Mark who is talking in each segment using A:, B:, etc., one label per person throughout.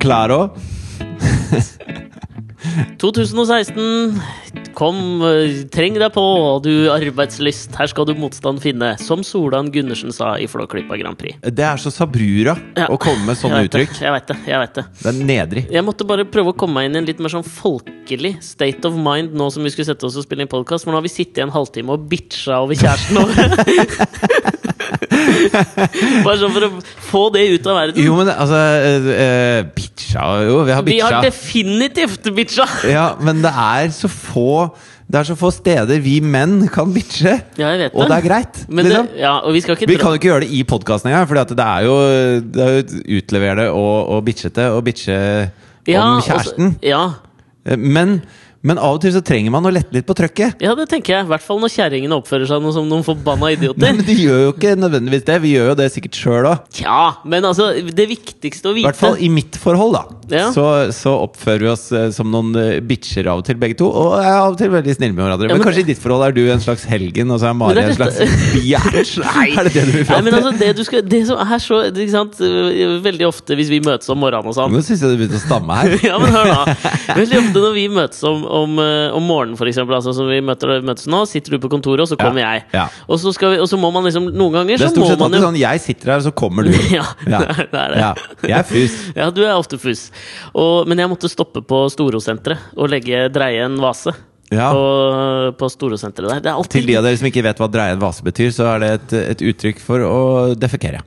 A: claro.
B: 2016. Kom, eh, treng deg på, du arbeidslyst. Her skal du motstand finne. Som Solan Gundersen sa i Flåklypa Grand Prix.
A: Det er så sabrura
B: Ja.
A: å komme med sånne
B: Jeg vet
A: Sånn
B: det,
A: uttrykk.
B: Jeg vet det, jeg vet det.
A: Det er nedrig.
B: Jeg måtte bare prøve å komme meg inn i en litt mer sånn folkelig state of mind nå som vi skulle sette oss og spille inn podkast, for nå har vi sittet i en halvtime og bitcha over kjæresten vår. bare sånn for å få det ut av verden.
A: Jo, men altså eh, eh, Bitcha Jo, vi har
B: vi har
A: bitcha.
B: definitivt bitcha!
A: Ja, men det er så få Det er så få steder vi menn kan bitche.
B: Ja, jeg vet
A: Og det er greit.
B: Men det,
A: liksom.
B: ja, og vi skal ikke
A: Vi
B: dra-
A: kan jo ikke gjøre det i podkasten engang, for det er jo, det er jo utleverende og, og bitchete og bitche om
B: altså-
A: kjæresten.
B: ja,
A: Men, men av og til så trenger man å lette litt på trøkket.
B: ja, det tenker jeg. I hvert fall når kjerringene oppfører seg noe som noen forbanna
A: Nei,
B: idioter.
A: men de gjør jo ikke nødvendigvis det. Vi gjør jo det sikkert sjøl òg.
B: Tja, men altså, det viktigste å
A: I hvert fall
B: vite
A: i mitt forhold, da.
B: Ja.
A: Så, så oppfører vi oss eh, som noen eh, bitcher av og til, begge to. Og er av og til veldig snille med hverandre.
B: Ja,
A: men,
B: men-
A: kanskje i ditt forhold er du en slags helgen, og så er
B: Men
A: Mari
B: det er
A: en slags bjæsj? Er det det du vil
B: Nei,
A: fram
B: men
A: til?
B: altså, det du skal Det som er så ikke sant? Veldig ofte hvis vi møtes om morgenen og sånn
A: Nå syns jeg du begynte å stamme her.
B: ja, men hør da. Veldig ofte når vi møtes om, om, eh, om morgenen, for eksempel, altså, som vi møter, møtes nå, sitter du på kontoret, og så kommer
A: Ja,
B: jeg.
A: ja.
B: Og, så skal vi, og så må man liksom Noen ganger
A: Det
B: så
A: er
B: må
A: stort sett
B: man
A: alltid
B: jo
A: sånn jeg sitter her, så kommer du.
B: Ja,
A: Ja.
B: det er- det er det.
A: Ja. Jeg er fus.
B: Ja, du er ofte fuss. Og, men jeg måtte stoppe på Storosenteret og legge dreie en vase.
A: Ja.
B: På, på Storosenteret der. Det er alltid
A: Til de av dere som ikke vet hva dreie en vase betyr, så er det et, et uttrykk for å defekere.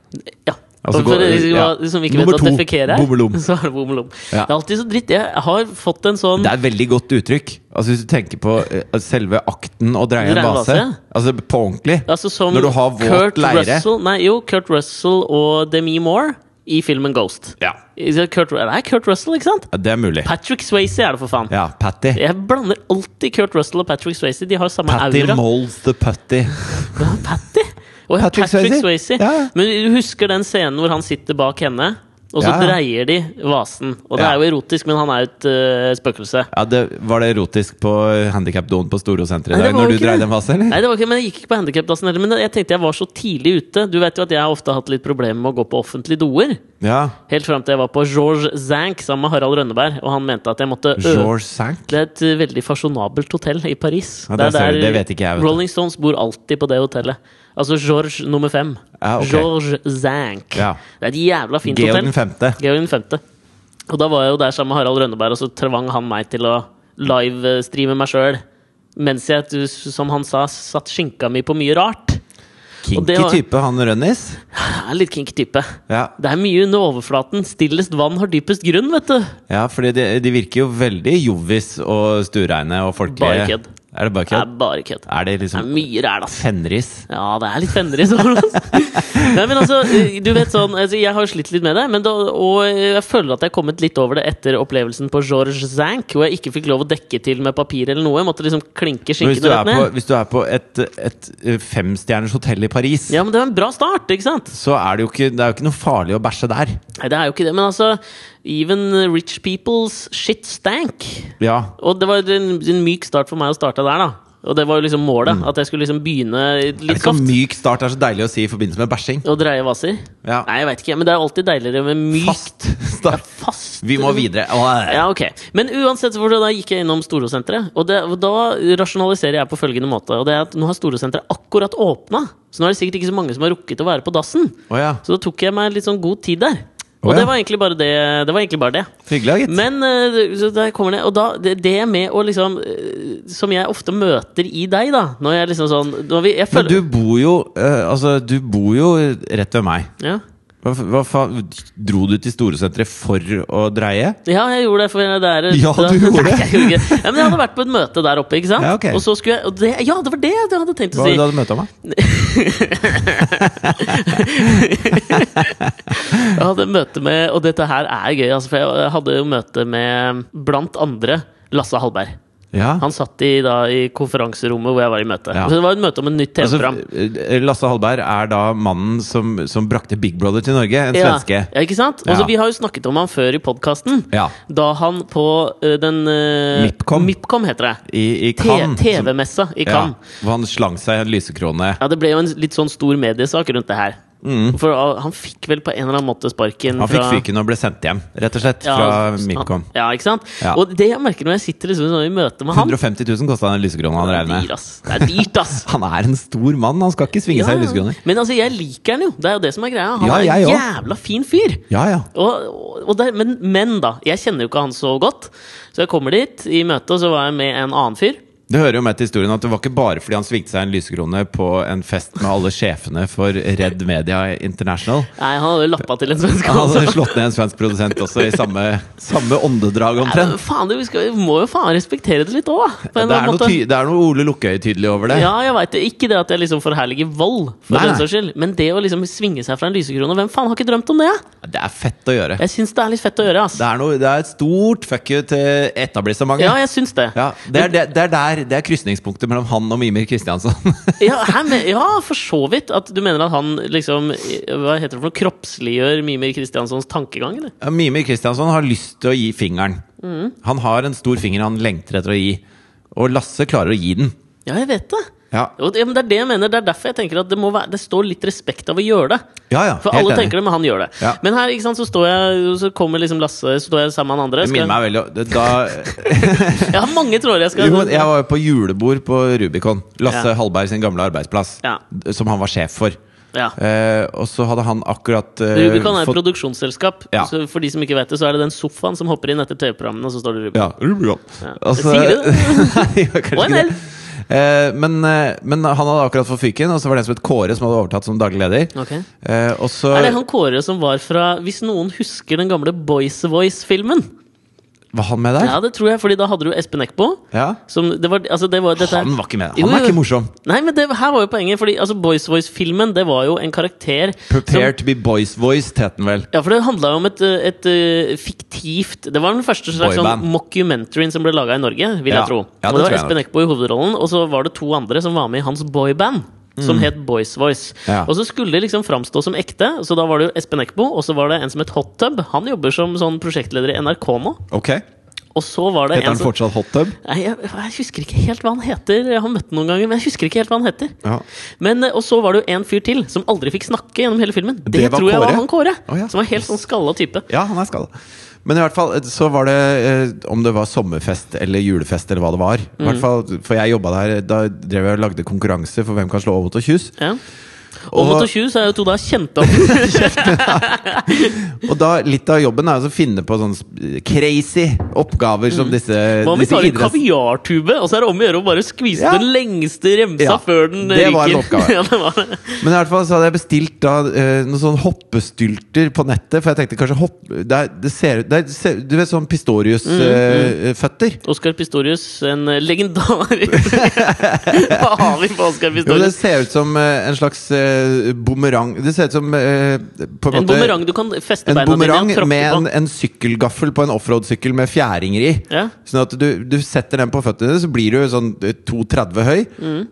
B: Ja.
A: Altså,
B: og for
A: gå-
B: dere som,
A: ja.
B: som ikke
A: Nummer
B: vet hva
A: to,
B: defekere er,
A: bommelom.
B: så er det bommelom.
A: Ja.
B: Det er alltid så dritt. Jeg har fått en sånn
A: Det er et veldig godt uttrykk. Altså Hvis du tenker på eh, selve akten å dreie en
B: Dreie en
A: vase,
B: vase,
A: altså på ordentlig
B: Altså som
A: Når du har våt
B: Kurt
A: leire.
B: Russell, nei, jo, Kurt Russell og Demi Moore i filmen Ghost.
A: Ja,
B: Is it Kurt, det er Kurt Russell, ikke sant?
A: det er mulig.
B: Patrick Swayze er det, for faen.
A: Ja, Patty.
B: Jeg blander alltid Kurt Russell og Patrick Swayze. De har samme
A: Patty
B: aura.
A: molds the putty.
B: Ja, Patty? Og ja,
A: Patrick
B: Patrick,
A: Swayze.
B: Swayze.
A: Ja.
B: Men du husker den scenen hvor han sitter bak henne, og så
A: Ja, ja.
B: dreier de vasen. Og det
A: Ja.
B: er jo erotisk, men han er jo et øh, spøkelse.
A: Ja, det, Var det erotisk på handikapdoen på Storosenteret
B: Nei,
A: i
B: det
A: dag
B: var
A: når
B: jo
A: du
B: ikke det.
A: dreide en vase, eller?
B: Nei, det var ikke, men jeg gikk ikke på handikapplassen heller. Men jeg tenkte jeg var så tidlig ute. Du vet jo at jeg har ofte hatt litt problemer med å gå på offentlige doer.
A: Ja.
B: Helt fram til jeg var på George Zank sammen med Harald Rønneberg, og han mente at jeg måtte øve.
A: George Sank.
B: Det er et eh, veldig fasjonabelt hotell i Paris.
A: Ja, der ser du, det vet ikke jeg, vet du.
B: Rolling Stones bor alltid på det hotellet. Altså George nummer fem.
A: Ja, Ah, ok.
B: George Zank.
A: Ja.
B: Det er et jævla fint
A: Georg
B: hotell.
A: den femte.
B: Georg den femte. Og da var jeg jo der sammen med Harald Rønneberg, og så tvang han meg til å livestreame meg sjøl. Mens jeg, du, som han sa, satt skinka mi på mye rart. Og det
A: Kinky
B: var-
A: type, han Rønnis.
B: Jeg er litt kinky type.
A: Ja.
B: Det er mye under overflaten. Stillest vann har dypest grunn, vet du.
A: Ja, fordi de, de virker jo veldig jovis og stureine og folkelige.
B: Bare kødd.
A: Er det bare
B: Det er
A: kødd?
B: bare kødd.
A: Er det
B: Det er
A: liksom
B: mye ræl, ass.
A: fenris?
B: Ja, det er litt fenris over det. ass. Nei, men altså, du vet sånn altså, Jeg har jo slitt litt med det, men da, og jeg føler at jeg har kommet litt over det etter opplevelsen på George Zank, hvor jeg ikke fikk lov å dekke til med papir eller noe. Jeg måtte liksom klinke
A: Men Hvis du
B: skinkene
A: er
B: rett
A: på,
B: ned.
A: hvis du er på et, et eh, femstjerners hotell i Paris,
B: Ja, men det var en bra start, ikke sant?
A: så er det jo ikke, det er jo ikke noe farlig å bæsje der.
B: Nei, det er jo ikke det, men altså Even rich people's shit stank.
A: Ja.
B: Og det var en, en myk start for meg å starte der, da. Og det var jo liksom målet. At jeg skulle liksom begynne
A: Mm. Det er
B: litt
A: ikke
B: soft.
A: sånn myk start det er så deilig å si i forbindelse med bæsjing.
B: Og dreie vaser.
A: Ja.
B: Nei, jeg veit ikke, men det er alltid deiligere med mykt.
A: Fast start.
B: Fast.
A: Vi må videre. Åh.
B: Ja, ok. Men uansett hvor det da gikk jeg innom Storosenteret. Og, det, og da rasjonaliserer jeg på følgende måte. Og det er at Nå har Storosenteret akkurat åpna, så nå er det sikkert ikke så mange som har rukket å være på dassen.
A: Å ja.
B: Så da tok jeg meg litt sånn god tid der.
A: Å
B: Og
A: ja.
B: det var egentlig bare det. det, var egentlig bare det.
A: Hyggelig, da, gitt.
B: Men eh, så der kommer det Og da, det, det med å liksom eh, Som jeg ofte møter i deg, da. Når jeg liksom sånn når vi, jeg
A: Men
B: føler,
A: du bor jo eh, Altså, du bor jo rett ved meg.
B: ja.
A: Hva, hva faen Dro du til Storosenteret for å dreie?
B: ja, jeg gjorde det. For det er,
A: Ja,
B: da-
A: du gjorde det.
B: Nei, jeg gjorde ikke det. Ja, men jeg hadde vært på et møte der oppe, ikke sant?
A: Ja, ok.
B: Og så skulle jeg og det, Ja, det var det jeg hadde tenkt å
A: Hva var
B: si.
A: det du hadde møte av meg?
B: Jeg hadde møte med, og dette her er gøy, altså, for jeg hadde jo møte med blant andre Lasse Hallberg.
A: Ja.
B: Han satt i, da, i konferanserommet hvor jeg var i møte.
A: Ja.
B: Så det var et møte om et nytt TV-program.
A: Altså, eh, Lasse Hallberg er da mannen som, som brakte Big Brother til Norge. En
B: ja.
A: svenske.
B: ja, ikke sant?
A: Ja.
B: Altså, vi har jo snakket om han før i podkasten.
A: Ja.
B: Da han på ø, den ø,
A: Mipcom.
B: heter det.
A: I, i
B: T-
A: Cannes.
B: TV-messa i
A: Ja,
B: Cannes. Ja.
A: hvor han slang seg i en lysekrone.
B: det ble jo en litt sånn stor mediesak rundt det her. For ah, han fikk vel på en eller annen måte sparken
A: Mm. Han fikk fyken og ble sendt hjem, rett og slett, fra
B: han-
A: Milcom.
B: Ja, ikke sant?
A: Ja.
B: Og det jeg merker når jeg sitter liksom sånn i møte med han
A: 150 000 kosta den lysekrona han
B: Det er
A: drev med.
B: dyrt, ass. Det er dyrt, ass.
A: Han er en stor mann, han skal ikke svinge
B: Ja,
A: seg i
B: ja.
A: lysekroner.
B: Men altså, jeg liker han jo. Det er jo det som er greia. Han
A: Ja,
B: er
A: jeg
B: en
A: også.
B: jævla fin fyr.
A: Ja, ja.
B: Og, og der, men, men, da. Jeg kjenner jo ikke han så godt. Så jeg kommer dit i møte, og så var jeg med en annen fyr.
A: Det hører jo med til historien at det var ikke bare fordi han svingte seg en lysekrone på en fest med alle sjefene for Red Media International.
B: Nei, han hadde jo lappa til en svenske.
A: Han hadde
B: også.
A: slått ned en svensk produsent også i samme, samme åndedrag
B: Nei, men
A: omtrent.
B: faen, du, vi, skal, vi må jo faen respektere det litt òg, på
A: Det
B: en eller
A: er
B: annen
A: noe,
B: måte.
A: ty det er noe Ole Lukkøy tydelig over det.
B: Ja, jeg vet det. Ikke det at jeg liksom forherliger vold, for
A: Nei,
B: den
A: nei.
B: saks skyld. Men det å liksom svinge seg fra en lysekrone Hvem faen har ikke drømt om det?
A: Det er fett å gjøre.
B: Jeg syns det er litt fett å gjøre, ass.
A: Det er, noe, det er et stort fuck you til
B: Ja,
A: etablissementet.
B: jeg syns det.
A: Ja, det, er, det, det er der Det er krysningspunktet mellom han og Mimir Kristiansson.
B: Ja, hæ, men, ja, for så vidt. At du mener at han liksom Hva heter det for noe? Kroppsliggjør Mimir Kristianssons tankegang, eller?
A: Ja, Mimir Kristiansson har lyst til å gi fingeren. Han har en stor finger han lengter etter å gi. Og Lasse klarer å gi den.
B: Ja, jeg vet det.
A: Ja,
B: Jo, det- ja, men det er det jeg mener. Det er derfor jeg tenker at det, må være, det står litt respekt av å gjøre det.
A: ja, ja
B: For alle tenker det, men han gjør det.
A: Ja.
B: Men her ikke sant, så står jeg Så kommer liksom Lasse Så står jeg sammen med han andre.
A: Det
B: Skal,
A: minner meg veldig om- det- da,
B: Jeg har mange tråder jeg skal
A: jo, Jeg var jo på julebord på Rubicon. Lasse
B: Ja.
A: Hallberg sin gamle arbeidsplass,
B: Ja.
A: som han var sjef for.
B: ja.
A: Eh, og så hadde han akkurat eh,
B: Rubicon er et
A: fått-
B: produksjonsselskap.
A: Ja.
B: Så for de som ikke vet det, så er det den sofaen som hopper inn etter TV-programmene, og så står det Rubicon.
A: Ja, Rubicon.
B: Ja.
A: Altså-
B: Sier du det?
A: Nei, det gjør
B: Og
A: kanskje
B: en
A: ikke
B: elv.
A: det. Eh, men, eh, men han hadde akkurat fått fyken, og så var det en som het Kåre som hadde overtatt som daglig leder.
B: Ok.
A: Eh, og så
B: Er det han Kåre som var fra Hvis noen husker den gamle Boys Voice-filmen?
A: var han med der.
B: Ja, det tror jeg, fordi da hadde du Espen Eckbo.
A: Ja.
B: Som, det var, altså det var, dette,
A: Han var ikke med.
B: Jo,
A: Han er
B: jo.
A: ikke morsom.
B: Nei, men det, her var jo poenget, fordi altså, Boys Voice-filmen det var jo en karakter
A: Prepare to be boys voiced, het den vel.
B: Ja, for det handla jo om et, eh, et eh, fiktivt Det var den første slags sånn
A: Boyband.
B: mockumentaryen som ble laga i Norge, vil
A: Ja.
B: jeg tro.
A: Ja, det tror
B: Og det var
A: jeg
B: Espen Eckbo i hovedrollen, og så var det to andre som var med i hans boyband. Som het Boys Voice.
A: Mm. Ja.
B: Og så skulle det liksom framstå som ekte, så da var det jo Espen Eckbo, og så var det en som het Hot Tub. Han jobber som sånn prosjektleder i NRK nå.
A: Ok
B: Og så var det
A: Heter han
B: en som
A: fortsatt Hot Tub?
B: Nei, jeg, jeg husker ikke helt hva han heter. Jeg har møtt ham noen ganger, men jeg husker ikke helt hva han heter.
A: Ja.
B: Men, eh, Og så var det jo en fyr til som aldri fikk snakke gjennom hele filmen. Det,
A: Det var
B: tror jeg
A: Kåre.
B: var han Kåre.
A: Å, ja.
B: Som var helt sånn skalla type.
A: ja, han er skada. Men i hvert fall, eh, så var det eh, om det var sommerfest eller julefest eller hva det var. I
B: Mm.
A: hvert fall, For jeg jobba der, da drev jeg og lagde konkurranse for hvem kan slå Åmot og Kjus.
B: Ja. Og
A: Og-
B: Mot og Tjus er jo to da kjente opp.
A: Og da, litt av jobben er altså å finne på sånne sp- crazy oppgaver som disse,
B: Hva om Mm. vi
A: disse
B: tar en
A: idretts-
B: kaviartube, og så er det om å gjøre å bare skvise
A: Ja.
B: den lengste remsa
A: Ja,
B: før den
A: det
B: ryker?
A: var en oppgave.
B: ja, det var det.
A: Men i hvert fall så hadde jeg bestilt da eh, noen sånne hoppestylter på nettet, for jeg tenkte kanskje hopp... Det, er, det ser ut det er- ser- Du vet sånn
B: Mm,
A: eh, Pistorius-føtter?
B: Oscar Pistorius, en eh, legendarisk Hva har vi på Oscar
A: Jo, det
B: Pistorius?
A: ser ut som eh, en slags uh, bumerang Det ser ut som eh, på en,
B: En
A: måte
B: bumerang du kan feste
A: En
B: beina dine
A: bumerang
B: og tråkke
A: med en,
B: på.
A: en sykkelgaffel på en offroad-sykkel med fjæringer i.
B: Ja.
A: Sånn at du, du setter den på føttene, så blir du sånn eh, 2,30 høy.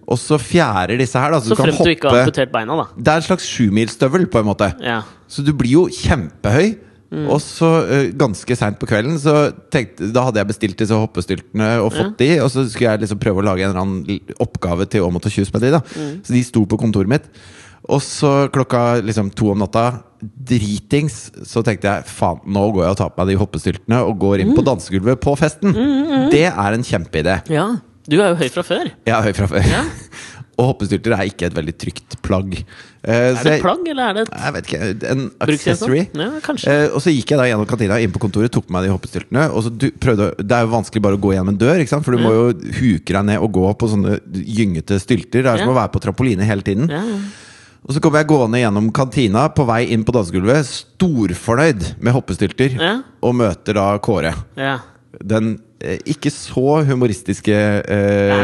A: Og så fjærer disse her, da. Så,
B: Mm. Så
A: du kan
B: fremt du ikke
A: hoppe
B: har amputert beina, da.
A: Det er en slags sjumilsstøvel, på en måte.
B: Ja.
A: Så du blir jo kjempehøy.
B: Mm.
A: Og så eh, ganske seint på kvelden Så tenkte, Da hadde jeg bestilt disse hoppestyltene og fått de. Og så skulle jeg liksom prøve å lage en eller annen l- oppgave til Åmot og Kjus med de. da
B: Mm.
A: Så de sto på kontoret mitt. Og så klokka liksom to om natta, dritings, så tenkte jeg faen, nå går jeg og tar på meg de hoppestyltene og går inn på
B: Mm.
A: dansegulvet på festen. Det er en kjempeidé.
B: ja. Du er jo høy fra før.
A: Jeg er høy fra før. og hoppestylter er ikke et veldig trygt plagg. Eh, så
B: Er det
A: jeg-
B: plagg, eller er det et
A: jeg vet ikke. En
B: bruksgjenstand?
A: accessory.
B: Ja, sånn? kanskje.
A: Eh, og så gikk jeg da gjennom kantina, inn på kontoret, tok på meg de hoppestyltene. Og så du, prøvde, å- det er jo vanskelig bare å gå gjennom en dør, ikke sant? for du må jo huke deg ned og gå på sånne gyngete stylter. Det er som
B: Ja.
A: å være på trampoline hele tiden.
B: Ja.
A: Og så kommer jeg gående gjennom kantina på vei inn på dansegulvet, storfornøyd med hoppestylter,
B: Ja.
A: og møter da Kåre.
B: ja.
A: Den eh, ikke så humoristiske
B: Er det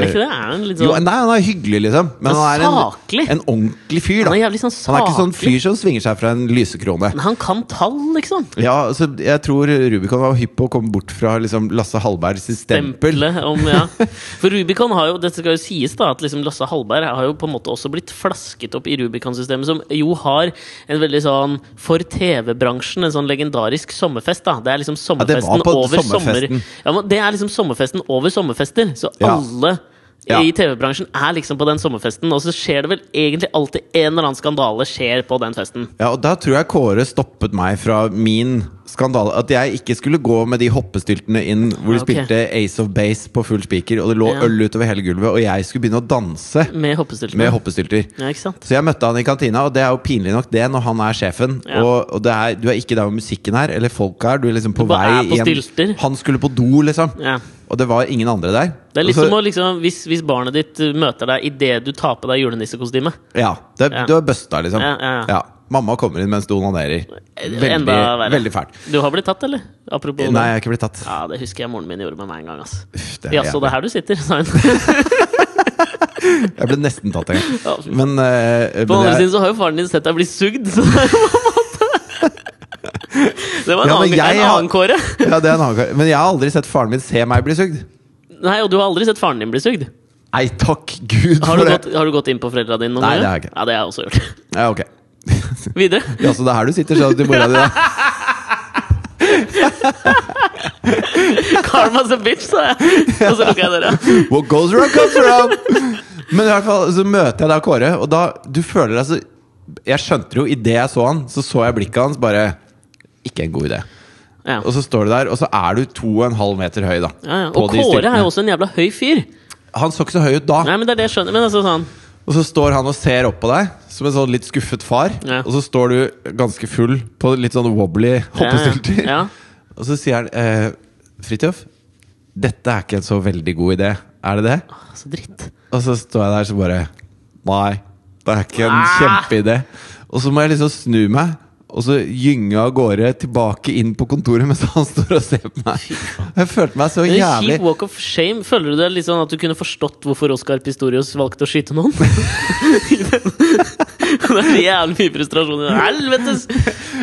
A: eh,
B: ikke det? Er han litt
A: jo,
B: sånn
A: nei, han er hyggelig, liksom. Men
B: Han
A: han
B: er
A: er en,
B: saklig.
A: en ordentlig fyr. Da.
B: Han er jævlig sånn
A: han er ikke sånn
B: saklig.
A: fyr som svinger seg fra en lysekrone.
B: Men han kan tall, liksom.
A: Ja, så Jeg tror Rubicon var hypp på å komme bort fra liksom, Lasse Hallbergs stempel.
B: Stempelet om, ja. For Rubicon har jo Dette skal jo sies, da, at liksom Lasse Hallberg har jo på en måte også blitt flasket opp i Rubicon-systemet, som jo har en veldig sånn For TV-bransjen en sånn legendarisk sommerfest, da. Det er liksom
A: det var
B: sommerfesten
A: på
B: over sommer...
A: sommerfesten.
B: Ja, men det er liksom sommerfesten over sommerfester. Så
A: Ja.
B: alle
A: Ja.
B: i TV-bransjen er liksom på den sommerfesten, og så skjer det vel egentlig alltid en eller annen skandale skjer på den festen.
A: Ja, og da tror jeg Kåre stoppet meg fra min skandale. At jeg ikke skulle gå med de hoppestyltene inn hvor de
B: Ah, ok.
A: spilte Ace of Base på full spiker, og det lå
B: Ja.
A: øl utover hele gulvet, og jeg skulle begynne å danse
B: Med hoppestyltene.
A: med hoppestylter.
B: ja, ikke sant?
A: Så jeg møtte han i kantina, og det er jo pinlig nok det når han er sjefen.
B: Ja.
A: Og, og det er, du er ikke der hvor musikken er, eller folk er. Du er liksom på
B: bare
A: vei
B: er på stylter.
A: Han skulle på do, liksom.
B: Ja.
A: Og det var ingen andre der.
B: Det er litt
A: Så-
B: som å liksom, hvis, hvis barnet ditt uh, møter deg idet du tar på deg julenissekostyme.
A: Ja, det,
B: Ja.
A: du er busta, liksom.
B: Ja, ja, ja.
A: Mamma kommer inn mens du onanerer.
B: Enda
A: Veldig,
B: verre.
A: veldig fælt.
B: Du har blitt tatt, eller? Apropos
A: Eh, Nei, jeg
B: det.
A: har ikke blitt tatt.
B: Ja, det husker jeg moren min gjorde med meg en gang. ass
A: Uff, det er
B: Jaså, det
A: jævlig.
B: er her du sitter, sa hun.
A: Jeg ble nesten tatt en gang.
B: Ja.
A: Men, eh, men
B: På den andre
A: jeg,
B: siden så har jo faren din sett deg bli sugd, så det er jo på en måte Det var en
A: Ja, men
B: annen,
A: jeg
B: en
A: har-
B: annen Kåre.
A: ja, det er en annen kar. men jeg har aldri sett faren min se meg bli sugd.
B: Nei, og du har aldri sett faren din bli sugd?
A: Nei, takk Gud
B: Har
A: for
B: du,
A: det.
B: gått, har du gått inn på foreldra dine noen
A: Nei,
B: gang?
A: det har jeg ikke.
B: Ja, det har jeg også gjort.
A: Ja, ok.
B: Videre.
A: Ja, så det er her du sitter, sa du til mora di. da.
B: Karma's a bitch, sa jeg. Og så lukka jeg døra.
A: What goes around, comes around! Men i hvert fall så møter jeg da Kåre, og da Du føler deg så Jeg skjønte jo idet jeg så han, så så jeg blikket hans, bare Ikke en god idé.
B: Ja.
A: Og så står du der, og så er du to og en halv meter høy, da.
B: Ja, ja.
A: på
B: Og
A: de
B: Kåre er
A: styltene.
B: jo også en jævla høy fyr.
A: Han så ikke så høy ut da.
B: Nei, men det er det jeg skjønner. Men altså sånn
A: Og så står han og ser opp på deg som en sånn litt skuffet far.
B: Ja.
A: Og så står du ganske full på litt sånn wobbly hoppestylter.
B: Ja, ja.
A: Og så sier han eh, Fridtjof, dette er ikke en så veldig god idé. Er det det?
B: Ah, Så dritt.
A: Og så står jeg der så bare Nei, det er ikke en
B: Ah!
A: kjempeidé. Og så må jeg liksom snu meg. Og så gynge av gårde tilbake inn på kontoret mens han står og ser på meg. Jeg følte meg så
B: Det er en
A: jævlig
B: kjip walk of shame. Føler du det litt sånn at du kunne forstått hvorfor Oscar Pistorius valgte å skyte noen? det er jævlig mye frustrasjon i det. Helvetes!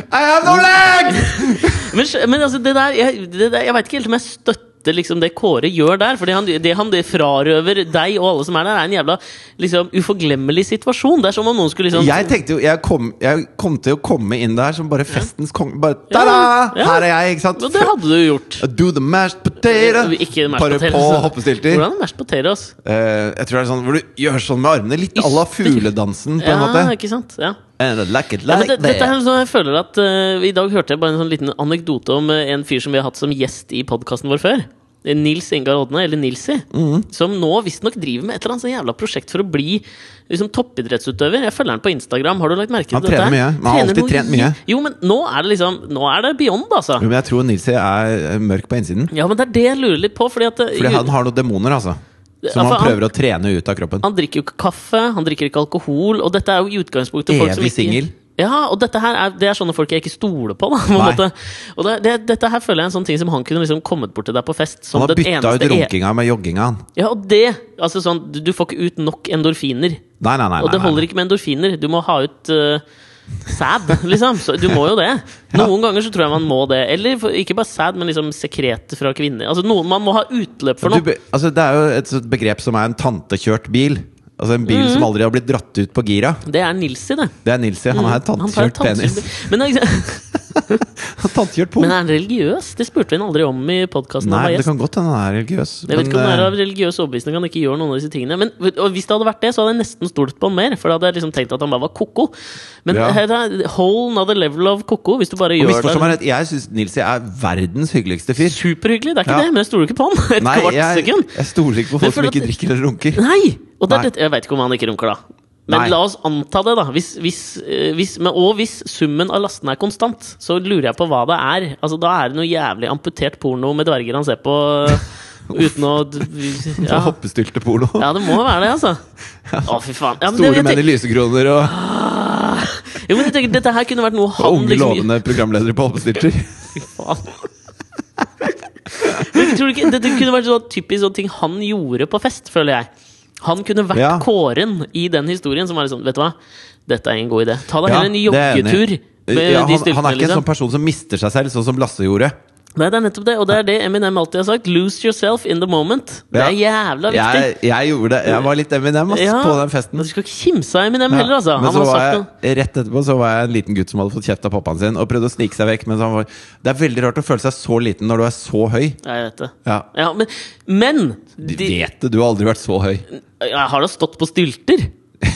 A: I have no leg!
B: Men, skj- men altså, det der Jeg, det der, jeg veit ikke helt om jeg støtter liksom det Kåre gjør der. For det han, det han det frarøver deg og alle som er der, er en jævla liksom, uforglemmelig situasjon. Det er som om noen skulle liksom
A: Jeg tenkte jo jeg kom, jeg kom til å komme inn der som bare festens konge. Bare
B: Ja,
A: ta-da!
B: ja.
A: Her er jeg, ikke sant?
B: Og det hadde du gjort.
A: Do the mashed potato!
B: Ikke mashed
A: bare
B: potatoes.
A: på hoppestylter.
B: Hvordan er mashed potatoes?
A: Eh, jeg tror det er sånn hvor du gjør sånn med armene. Litt à la fugledansen, på en
B: Ja,
A: måte.
B: ikke sant? Ja.
A: And I like it
B: Ja, men
A: like
B: det, dette er
A: that.
B: sånn jeg føler at eh, I dag hørte jeg bare en sånn liten anekdote om eh, en fyr som vi har hatt som gjest i podkasten vår før. Eh, Nils Ingar Odne, eller Nilsi,
A: Mhm.
B: som nå visstnok driver med et eller annet sånn jævla prosjekt for å bli liksom, toppidrettsutøver. Jeg følger han på Instagram. Har du lagt merke
A: Han
B: til dette?
A: trener mye. Han har
B: Trener
A: alltid
B: noe
A: trent
B: i-
A: mye.
B: Jo, men nå er det liksom Nå er det beyond, altså.
A: Jo, men jeg tror Nilsi er eh, mørk på innsiden.
B: Ja, men det er det jeg lurer litt på. Fordi at eh,
A: Fordi han har noen demoner, altså.
B: Ja,
A: Som
B: for
A: han
B: han-
A: prøver å trene ut av kroppen.
B: Han drikker jo ikke kaffe, han drikker ikke alkohol, og dette er jo i utgangspunktet folk som
A: Evig
B: ikke
A: singel.
B: Ja, og dette her er, det er sånne folk jeg ikke stoler på. Da, på en
A: Nei.
B: måte. Og det, det, dette her føler jeg er en sånn ting som han kunne liksom kommet bort til deg på fest. Som
A: Han har
B: den
A: bytta ut
B: eneste e-
A: runkinga med jogginga, han.
B: Ja, og det! Altså sånn, du, du får ikke ut nok endorfiner.
A: Nei, nei, nei.
B: Og det
A: nei,
B: holder
A: nei.
B: ikke med endorfiner. Du må ha ut eh, sæd, liksom. Så du må jo det. Noen ganger så tror jeg man må det. Eller for- ikke bare sæd, men liksom sekret fra kvinner. Altså noen Man må ha utløp for
A: Du,
B: noe.
A: be- altså, det er jo et sånt begrep som er en tantekjørt bil. Altså En
B: Mhm.
A: bil som aldri har blitt dratt ut på gira.
B: Det er Nilsi, det.
A: Det er Nilsi. Han har en
B: Mhm. Han tar et
A: tantekjørt penis.
B: tannsugd- Men det er ikke-
A: Tantekjørt
B: Men
A: pung.
B: er han religiøs? Det spurte vi han aldri om i podkasten.
A: Nei, det
B: Jeg
A: kan godt hende han er religiøs.
B: vet ikke om
A: men,
B: han er
A: eh,
B: av religiøs overbevisning. Han ikke gjør noen av disse tingene Men og Hvis det hadde vært det, så hadde jeg nesten stolt på han mer. For da hadde jeg liksom tenkt at han bare var ko-ko. Men
A: Ja.
B: her er whole another level of ko-ko. Hvis du
A: og
B: bare gjør
A: misforstå
B: det
A: meg rett, jeg syns Nilsi er verdens hyggeligste fyr.
B: superhyggelig, det er ikke
A: Ja.
B: det, men jeg stoler ikke på han. Et
A: Nei,
B: kvart
A: jeg,
B: sekund.
A: jeg stoler ikke på
B: Men
A: folk som
B: for at-
A: ikke drikker eller runker.
B: Nei! Og det er
A: Nei.
B: dette, jeg veit ikke om han ikke runker, da. Men
A: Nei.
B: la oss anta det, da. Hvis, hvis, eh, hvis, men- og hvis summen av lastene er konstant, så lurer jeg på hva det er. Altså, da er det noe jævlig amputert porno med dverger han ser på uten å
A: Ja.
B: ja.
A: Hoppestylte porno.
B: Ja, det må være det, altså. Å, fy faen. Ja, men det,
A: Store
B: jeg
A: menn i
B: tenker,
A: lysekroner og
B: jo, men jeg tenker, dette her kunne vært noe
A: og
B: han
A: unge,
B: liksom
A: lovende programledere på hoppestylter.
B: Fy faen. Men tror du ikke, dette kunne vært sånn typisk sånn ting han gjorde på fest, føler jeg. Han kunne vært
A: Ja.
B: Kåren i den historien som var litt sånn Vet du hva, dette er ingen god idé. Ta deg
A: Ja,
B: heller en
A: det er jeg enig i.
B: joggetur. Med
A: Ja,
B: de
A: han,
B: styltene,
A: han er ikke en
B: liksom.
A: sånn person som mister seg selv, sånn som Lasse gjorde.
B: Nei, det er nettopp det, og det er det Eminem alltid har sagt. Lose yourself in the moment. Det er jævla viktig.
A: Jeg, jeg gjorde det. Jeg var litt Eminem ass,
B: Ja.
A: på den festen.
B: Men Du skal ikke kimse av Eminem
A: Ja.
B: heller, altså.
A: Men så
B: Han har
A: var
B: sagt
A: jeg,
B: noe.
A: rett etterpå så var jeg en liten gutt som hadde fått kjeft av pappaen sin og prøvde å snike seg vekk. Mens han var, det er veldig rart å føle seg så liten når du er så høy.
B: Ja, jeg vet det.
A: Ja.
B: Ja, men, men de,
A: De... Vet det, du har aldri vært så høy.
B: Jeg har da stått på stylter?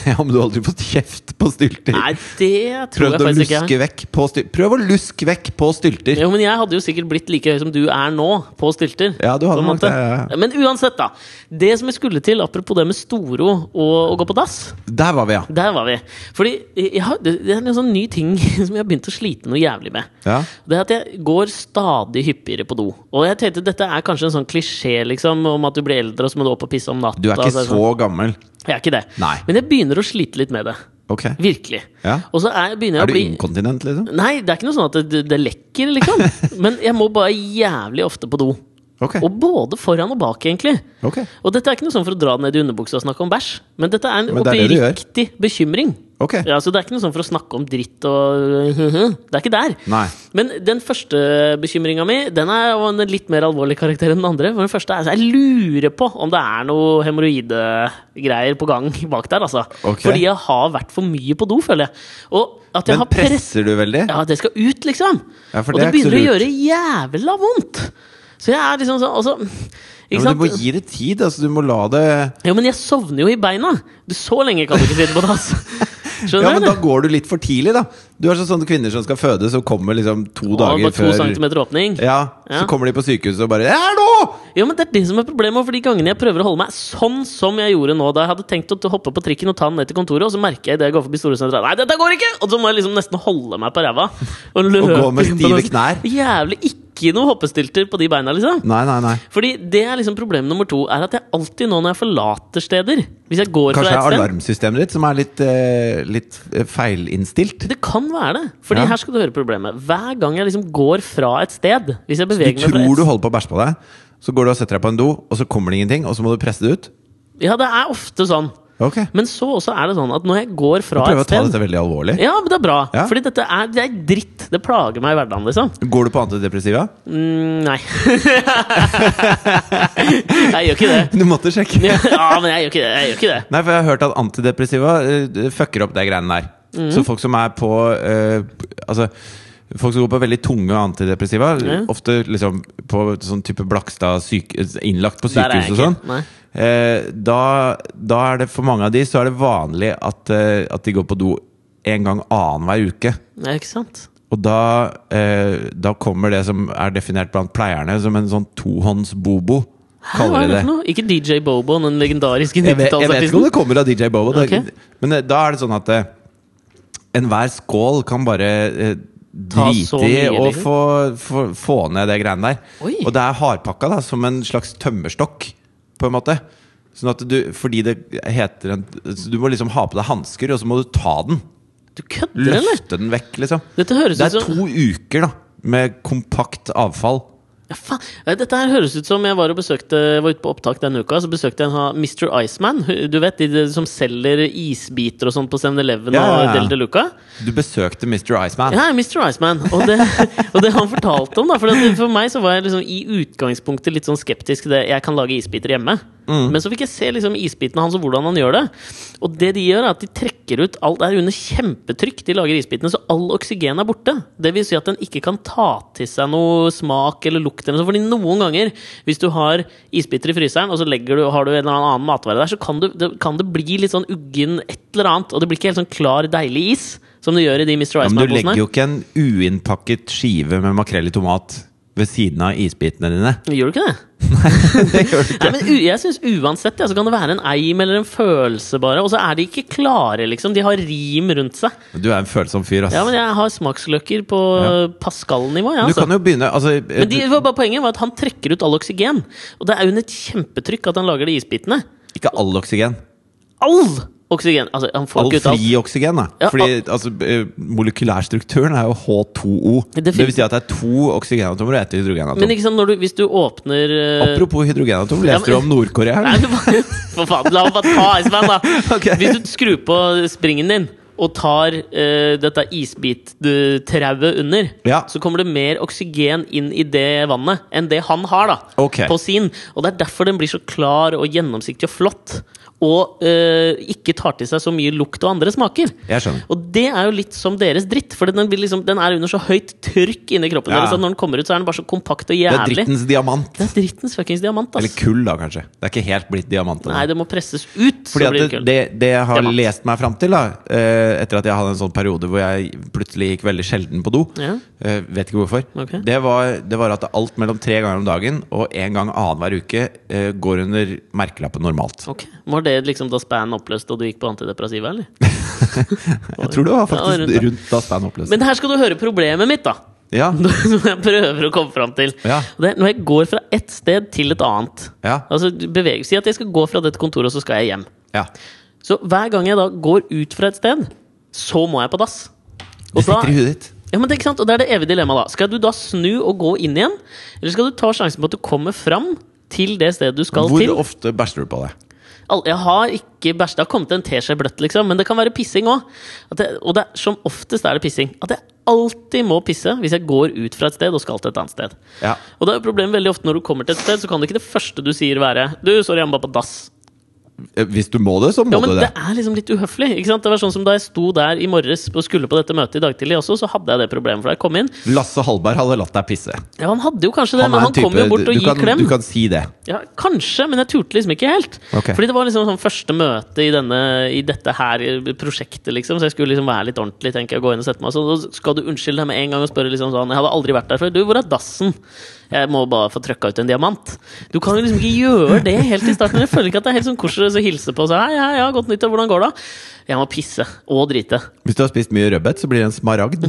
A: ja, men du har aldri fått kjeft på stylter.
B: Nei, det tror
A: Prøvd
B: jeg
A: å
B: faktisk ikke.
A: luske
B: jeg har.
A: vekk på styr... Prøv å luske vekk på stylter!
B: Jo, men jeg hadde jo sikkert blitt like høy som du er nå, på stylter.
A: Ja, du hadde
B: på en
A: nok
B: måte.
A: det, ja, ja.
B: Men uansett, da. Det som jeg skulle til, apropos det med Storo og å gå på dass.
A: Der var vi, ja.
B: Der var vi. Fordi jeg har, det det er en sånn ny ting som jeg har begynt å slite noe jævlig med.
A: Ja.
B: Det er at jeg går stadig hyppigere på do. Og jeg tenkte dette er kanskje en sånn klisjé liksom, om at du blir eldre og så må du opp og pisse om natta.
A: Du er ikke
B: Altså,
A: så gammel.
B: sånn- Jeg er ikke det.
A: Nei.
B: Men jeg begynner å slite litt med det.
A: Ok.
B: Virkelig.
A: Ja.
B: Og så er, begynner
A: Er
B: jeg
A: du
B: å bli
A: inkontinent, liksom?
B: Nei, det er ikke noe sånn at det, det, det lekker, liksom. Men jeg må bare jævlig ofte på do.
A: Ok.
B: Og både foran og bak, egentlig.
A: Ok.
B: Og dette er ikke noe sånn for å dra det ned i underbuksa og snakke om bæsj, men dette er en
A: Men det er det du gjør.
B: oppriktig bekymring.
A: Ok.
B: Ja, så Det er ikke noe sånn for å snakke om dritt og uh, Det er ikke der.
A: Nei.
B: Men den første bekymringa mi Den er av en litt mer alvorlig karakter enn den andre. For den første er så Jeg lurer på om det er noe hemoroidegreier på gang bak der. altså
A: Ok.
B: Fordi jeg har vært for mye på do, føler jeg. Og at jeg
A: Men
B: har press
A: presser du veldig?
B: Ja, det skal ut, liksom.
A: Ja, for
B: og
A: det
B: det
A: er ikke så
B: begynner å
A: lurt.
B: gjøre jævla vondt. Så jeg er liksom sånn altså,
A: Ja,
B: Ikke
A: men
B: sant?
A: du må gi det tid. Altså, du må la det
B: Jo, men jeg sovner jo i beina! Du, så lenge kan du ikke sitte på dass. Skjønner
A: Ja, men
B: du?
A: da går du litt for tidlig, da. Du er sånn sånne kvinner som skal føde, så kommer liksom to
B: Og bare
A: dager
B: to
A: før
B: centimeter åpning.
A: ja, Så
B: Ja.
A: kommer de på sykehuset og bare 'Er nå!'
B: Jo, men Det er det som er problemet. For de gangene jeg prøver å holde meg sånn som jeg gjorde nå, da jeg hadde tenkt å t- hoppe på trikken og ta den ned til kontoret, og så merker jeg det jeg går forbi Storesenteret Nei, dette går ikke! Og så må jeg liksom nesten holde meg på ræva. Og, løpe
A: med
B: inn på
A: stive
B: dass.
A: knær.
B: Jævlig ikke noe hoppestylter på de beina, liksom.
A: Nei, nei, nei.
B: Fordi det er liksom problem nummer to, er at jeg alltid nå når jeg forlater steder Hvis jeg går
A: Kanskje det er
B: fra et sted
A: alarmsystemet ditt som er litt, eh, litt eh, feilinnstilt?
B: det kan være det. Fordi
A: Ja.
B: her skal du høre problemet. Hver gang jeg liksom går fra et sted Hvis jeg
A: Du
B: beveger meg fra
A: tror
B: et
A: du holder på å bæsje på deg, så går du og setter deg på en do, og så kommer det ingenting, og så må du presse det ut?
B: Ja, det er ofte sånn.
A: Ok.
B: Men så også er det sånn at når jeg går fra
A: Prøv å
B: et
A: ta
B: sted
A: dette veldig alvorlig.
B: Ja, men det er bra.
A: Ja.
B: Fordi dette er, det er dritt. Det plager meg i hverdagen, liksom.
A: Går du på antidepressiva?
B: Mm, nei. jeg gjør ikke det.
A: Du måtte sjekke.
B: Ja, men jeg gjør ikke det. Jeg gjør ikke det.
A: Nei, for jeg har hørt at antidepressiva eh, fucker opp de greiene der.
B: Mm.
A: Så folk som er på eh, Altså Folk som går på veldig tunge antidepressiva,
B: Ja.
A: ofte liksom på sånn type Blakstad syke, innlagt på
B: Der er jeg
A: sykehus og
B: ikke.
A: sånn,
B: Nei.
A: eh, da, da er det for mange av de så er det vanlig at, eh, at de går på do en gang annenhver uke.
B: Nei, ikke sant?
A: Og da, eh, da kommer det som er definert blant pleierne som en sånn tohånds-bobo.
B: Hæ, hva
A: Kaller
B: er
A: de
B: det
A: det.
B: for noe? Ikke DJ Bobo, den legendariske
A: Jeg vet, jeg vet ikke om
B: 90-tallsartisten?
A: det kommer av DJ Bobo. det-
B: Ok.
A: Men eh, da er det sånn at eh, enhver skål kan bare eh,
B: Ta
A: drite
B: så
A: i
B: mye,
A: å
B: liksom.
A: få, få, få ned det greiene der.
B: Oi.
A: Og det er hardpakka, da, som en slags tømmerstokk, på en måte. Sånn at du, fordi det heter en så Du må liksom ha på deg hansker, og så må du ta den.
B: Du kødder, eller?
A: Løfte den vekk, liksom.
B: Dette høres
A: Det
B: ut
A: er
B: som
A: to uker da med kompakt avfall.
B: ja, faen. Nei, Dette her høres ut som jeg var, og besøkte, var ute på opptak denne uka, så besøkte jeg en ha- Mr. Iceman. Du vet de de som selger isbiter og sånn på 7-Eleven
A: Ja, ja, ja.
B: og Del de Luca?
A: Du besøkte Mr. Iceman.
B: Ja, Mr. Iceman. Og det, og det han fortalte om, da. For, at for meg så var jeg liksom i utgangspunktet litt sånn skeptisk til det. Jeg kan lage isbiter hjemme.
A: Mm.
B: Men så fikk jeg se liksom isbitene hans og hvordan han gjør det. Og det de gjør, er at de trekker ut alt det er under kjempetrykk. De lager isbitene så all oksygen er borte. Det vil si at den ikke kan ta til seg noe smak eller lukt eller noe sånt. Fordi noen ganger, hvis du har isbiter i fryseren, og så legger du, har du en eller annen matvare der, så kan, du, det, kan det bli litt sånn uggen et eller annet. Og det blir ikke helt sånn klar, deilig is. Som det gjør i de Mr.
A: Ja, men du
B: Iceman-posene.
A: legger jo ikke en uinnpakket skive med makrell i tomat ved siden av isbitene dine.
B: Gjør du ikke det?
A: Det gjør du ikke.
B: Nei, men u jeg synes uansett ja, så kan det være en eim eller en følelse, bare. Og så er de ikke klare, liksom. De har rim rundt seg.
A: Du er en følsom fyr, ass.
B: Ja, men jeg har smaksløker på
A: Ja.
B: Pascal-nivå. Ja,
A: Du
B: altså.
A: kan jo begynne altså,
B: Men de, det var bare poenget var at han trekker ut all oksygen. Og det er jo under et kjempetrykk at han lager de isbitene.
A: Ikke all oksygen.
B: All oksygen! Altså, han får
A: All
B: ikke ut alt.
A: fri oksygen, da.
B: Ja,
A: Fordi altså, eh, molekylærstrukturen er jo H2O.
B: Det
A: Det,
B: finnes-
A: vil si at det er to oksygenatomer og ett
B: Men
A: hydrogenatom.
B: ikke sant, når du, hvis du åpner eh,
A: Apropos hydrogenatom,
B: Ja,
A: leste du
B: men-
A: om Nord-Korea?
B: Nei,
A: eller?
B: men hva- for faen, la meg bare ta Iceman, da!
A: Ok.
B: Hvis du skrur på springen din, og tar eh, dette isbittrauet under,
A: Ja.
B: så kommer det mer oksygen inn i det vannet enn det han har da
A: Ok.
B: på sin. Og det er derfor den blir så klar og gjennomsiktig og flott. Og eh, ikke tar til seg så mye lukt og andre smaker.
A: Jeg skjønner.
B: Og det er jo litt som deres dritt, for den, blir liksom, den er under så høyt trykk inni kroppen
A: Ja.
B: deres at når den kommer ut, så er den bare så kompakt og
A: Det er
B: jævlig.
A: drittens diamant.
B: Det er drittens fuckings diamant,
A: Eller
B: ass.
A: kull, da, kanskje. Det er ikke helt blitt diamant. ennå.
B: Nei, det må presses ut, så
A: Fordi
B: blir
A: at
B: det
A: det,
B: kull.
A: det, det jeg har
B: Diamant.
A: lest meg fram til, da, eh, etter at jeg hadde en sånn periode hvor jeg plutselig gikk veldig sjelden på do
B: Ja.
A: eh, Vet ikke hvorfor.
B: Ok.
A: Det, var, det var at alt mellom tre ganger om dagen og én gang annenhver uke eh, går under merkelappen normalt.
B: Ok, Var det liksom da spanen oppløste og du gikk på antidepressiva, eller?
A: Jeg tror det var
B: Ja, rundt
A: faktisk
B: der.
A: rundt da Stan oppløste.
B: Men her skal du høre problemet mitt, da.
A: Ja,
B: Som jeg prøver å komme fram til.
A: Ja.
B: Og Det er når jeg går fra ett sted til et annet.
A: ja,
B: Altså, beveg, Si at jeg skal gå fra dette kontoret, og så skal jeg hjem.
A: ja.
B: Så hver gang jeg da går ut fra et sted, så må jeg på dass.
A: Det sitter i huet ditt.
B: Ja, men det, er ikke sant? Og det er det evige dilemmaet, da. Skal du da snu og gå inn igjen? Eller skal du ta sjansen på at du kommer fram til det stedet du skal
A: Hvor
B: til?
A: ofte bæsjer du på deg?
B: Al- Jeg har ikke bæsj. Det har kommet en teskje bløtt, liksom. Men det kan være pissing òg. Og det, er- som oftest er det pissing. At jeg alltid må pisse hvis jeg går ut fra et sted og skal til et annet sted.
A: Ja.
B: Og det er jo problemet veldig ofte når du kommer til et sted, så kan det ikke det første du sier være Du, sorry, jeg må bare på dass.
A: Eh, Hvis du må det, så må
B: Ja, men
A: du
B: det
A: det.
B: er liksom litt uhøflig. ikke sant? Det var sånn som Da jeg sto der i morges og skulle på dette møtet i dag tidlig også, så hadde jeg det problemet. For da jeg kom inn
A: Lasse Hallberg hadde latt deg pisse.
B: Ja, han hadde jo kanskje det,
A: er
B: men
A: en
B: han kom jo
A: type-
B: bort og
A: du,
B: gir
A: kan,
B: klem.
A: du kan si det.
B: Ja, kanskje, men jeg turte liksom ikke helt.
A: Ok.
B: Fordi det var liksom sånn første møte i, denne, i dette her prosjektet, liksom. Så jeg skulle liksom være litt ordentlig, tenker jeg, gå inn og sette meg. Så da skal du unnskylde deg med en gang og spørre liksom sånn Jeg hadde aldri vært der før. Du, hvor er dassen? Jeg må bare få trøkka ut en diamant. Du kan jo liksom ikke gjøre det helt i starten. Jeg føler ikke at det er helt sånn koselig å hilse på og si hei, hei, ja, godt nyttår, hvordan går det? Jeg må pisse. Og drite.
A: Hvis du har spist mye rødbet, så blir det en smaragd.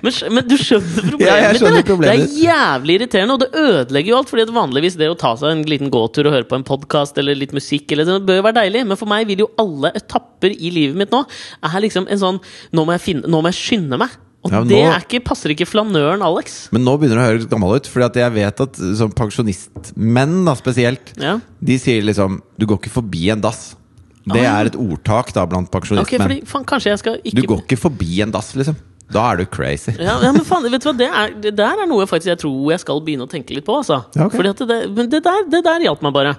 B: Men, skj- men du skjønner problemet
A: Ja, jeg
B: mitt,
A: skjønner
B: eller?
A: problemet ditt.
B: Det er jævlig irriterende, og det ødelegger jo alt. Fordi at vanligvis det å ta seg en liten gåtur og høre på en podkast eller litt musikk eller sånn, det bør jo være deilig. Men for meg vil jo alle etapper i livet mitt nå er liksom en sånn Nå må jeg, finne, nå må jeg skynde meg. Og
A: Ja, men
B: det
A: nå-
B: er ikke, passer ikke flanøren Alex.
A: Men nå begynner det å høres gammel ut, Fordi at jeg vet at uh, som pensjonistmenn da, spesielt,
B: Ja.
A: de sier liksom 'du går ikke forbi en dass'. Det
B: Ah.
A: er et ordtak da blant
B: Ok, fordi,
A: pensjonistmenn.
B: faen, kanskje jeg skal ikke
A: Du går ikke forbi en dass, liksom. Da er du crazy.
B: ja, ja, men faen, vet du hva, det, er, det der er noe faktisk jeg tror jeg skal begynne å tenke litt på. Altså.
A: Ja, ok.
B: Fordi at det, men det der, det der hjalp meg bare.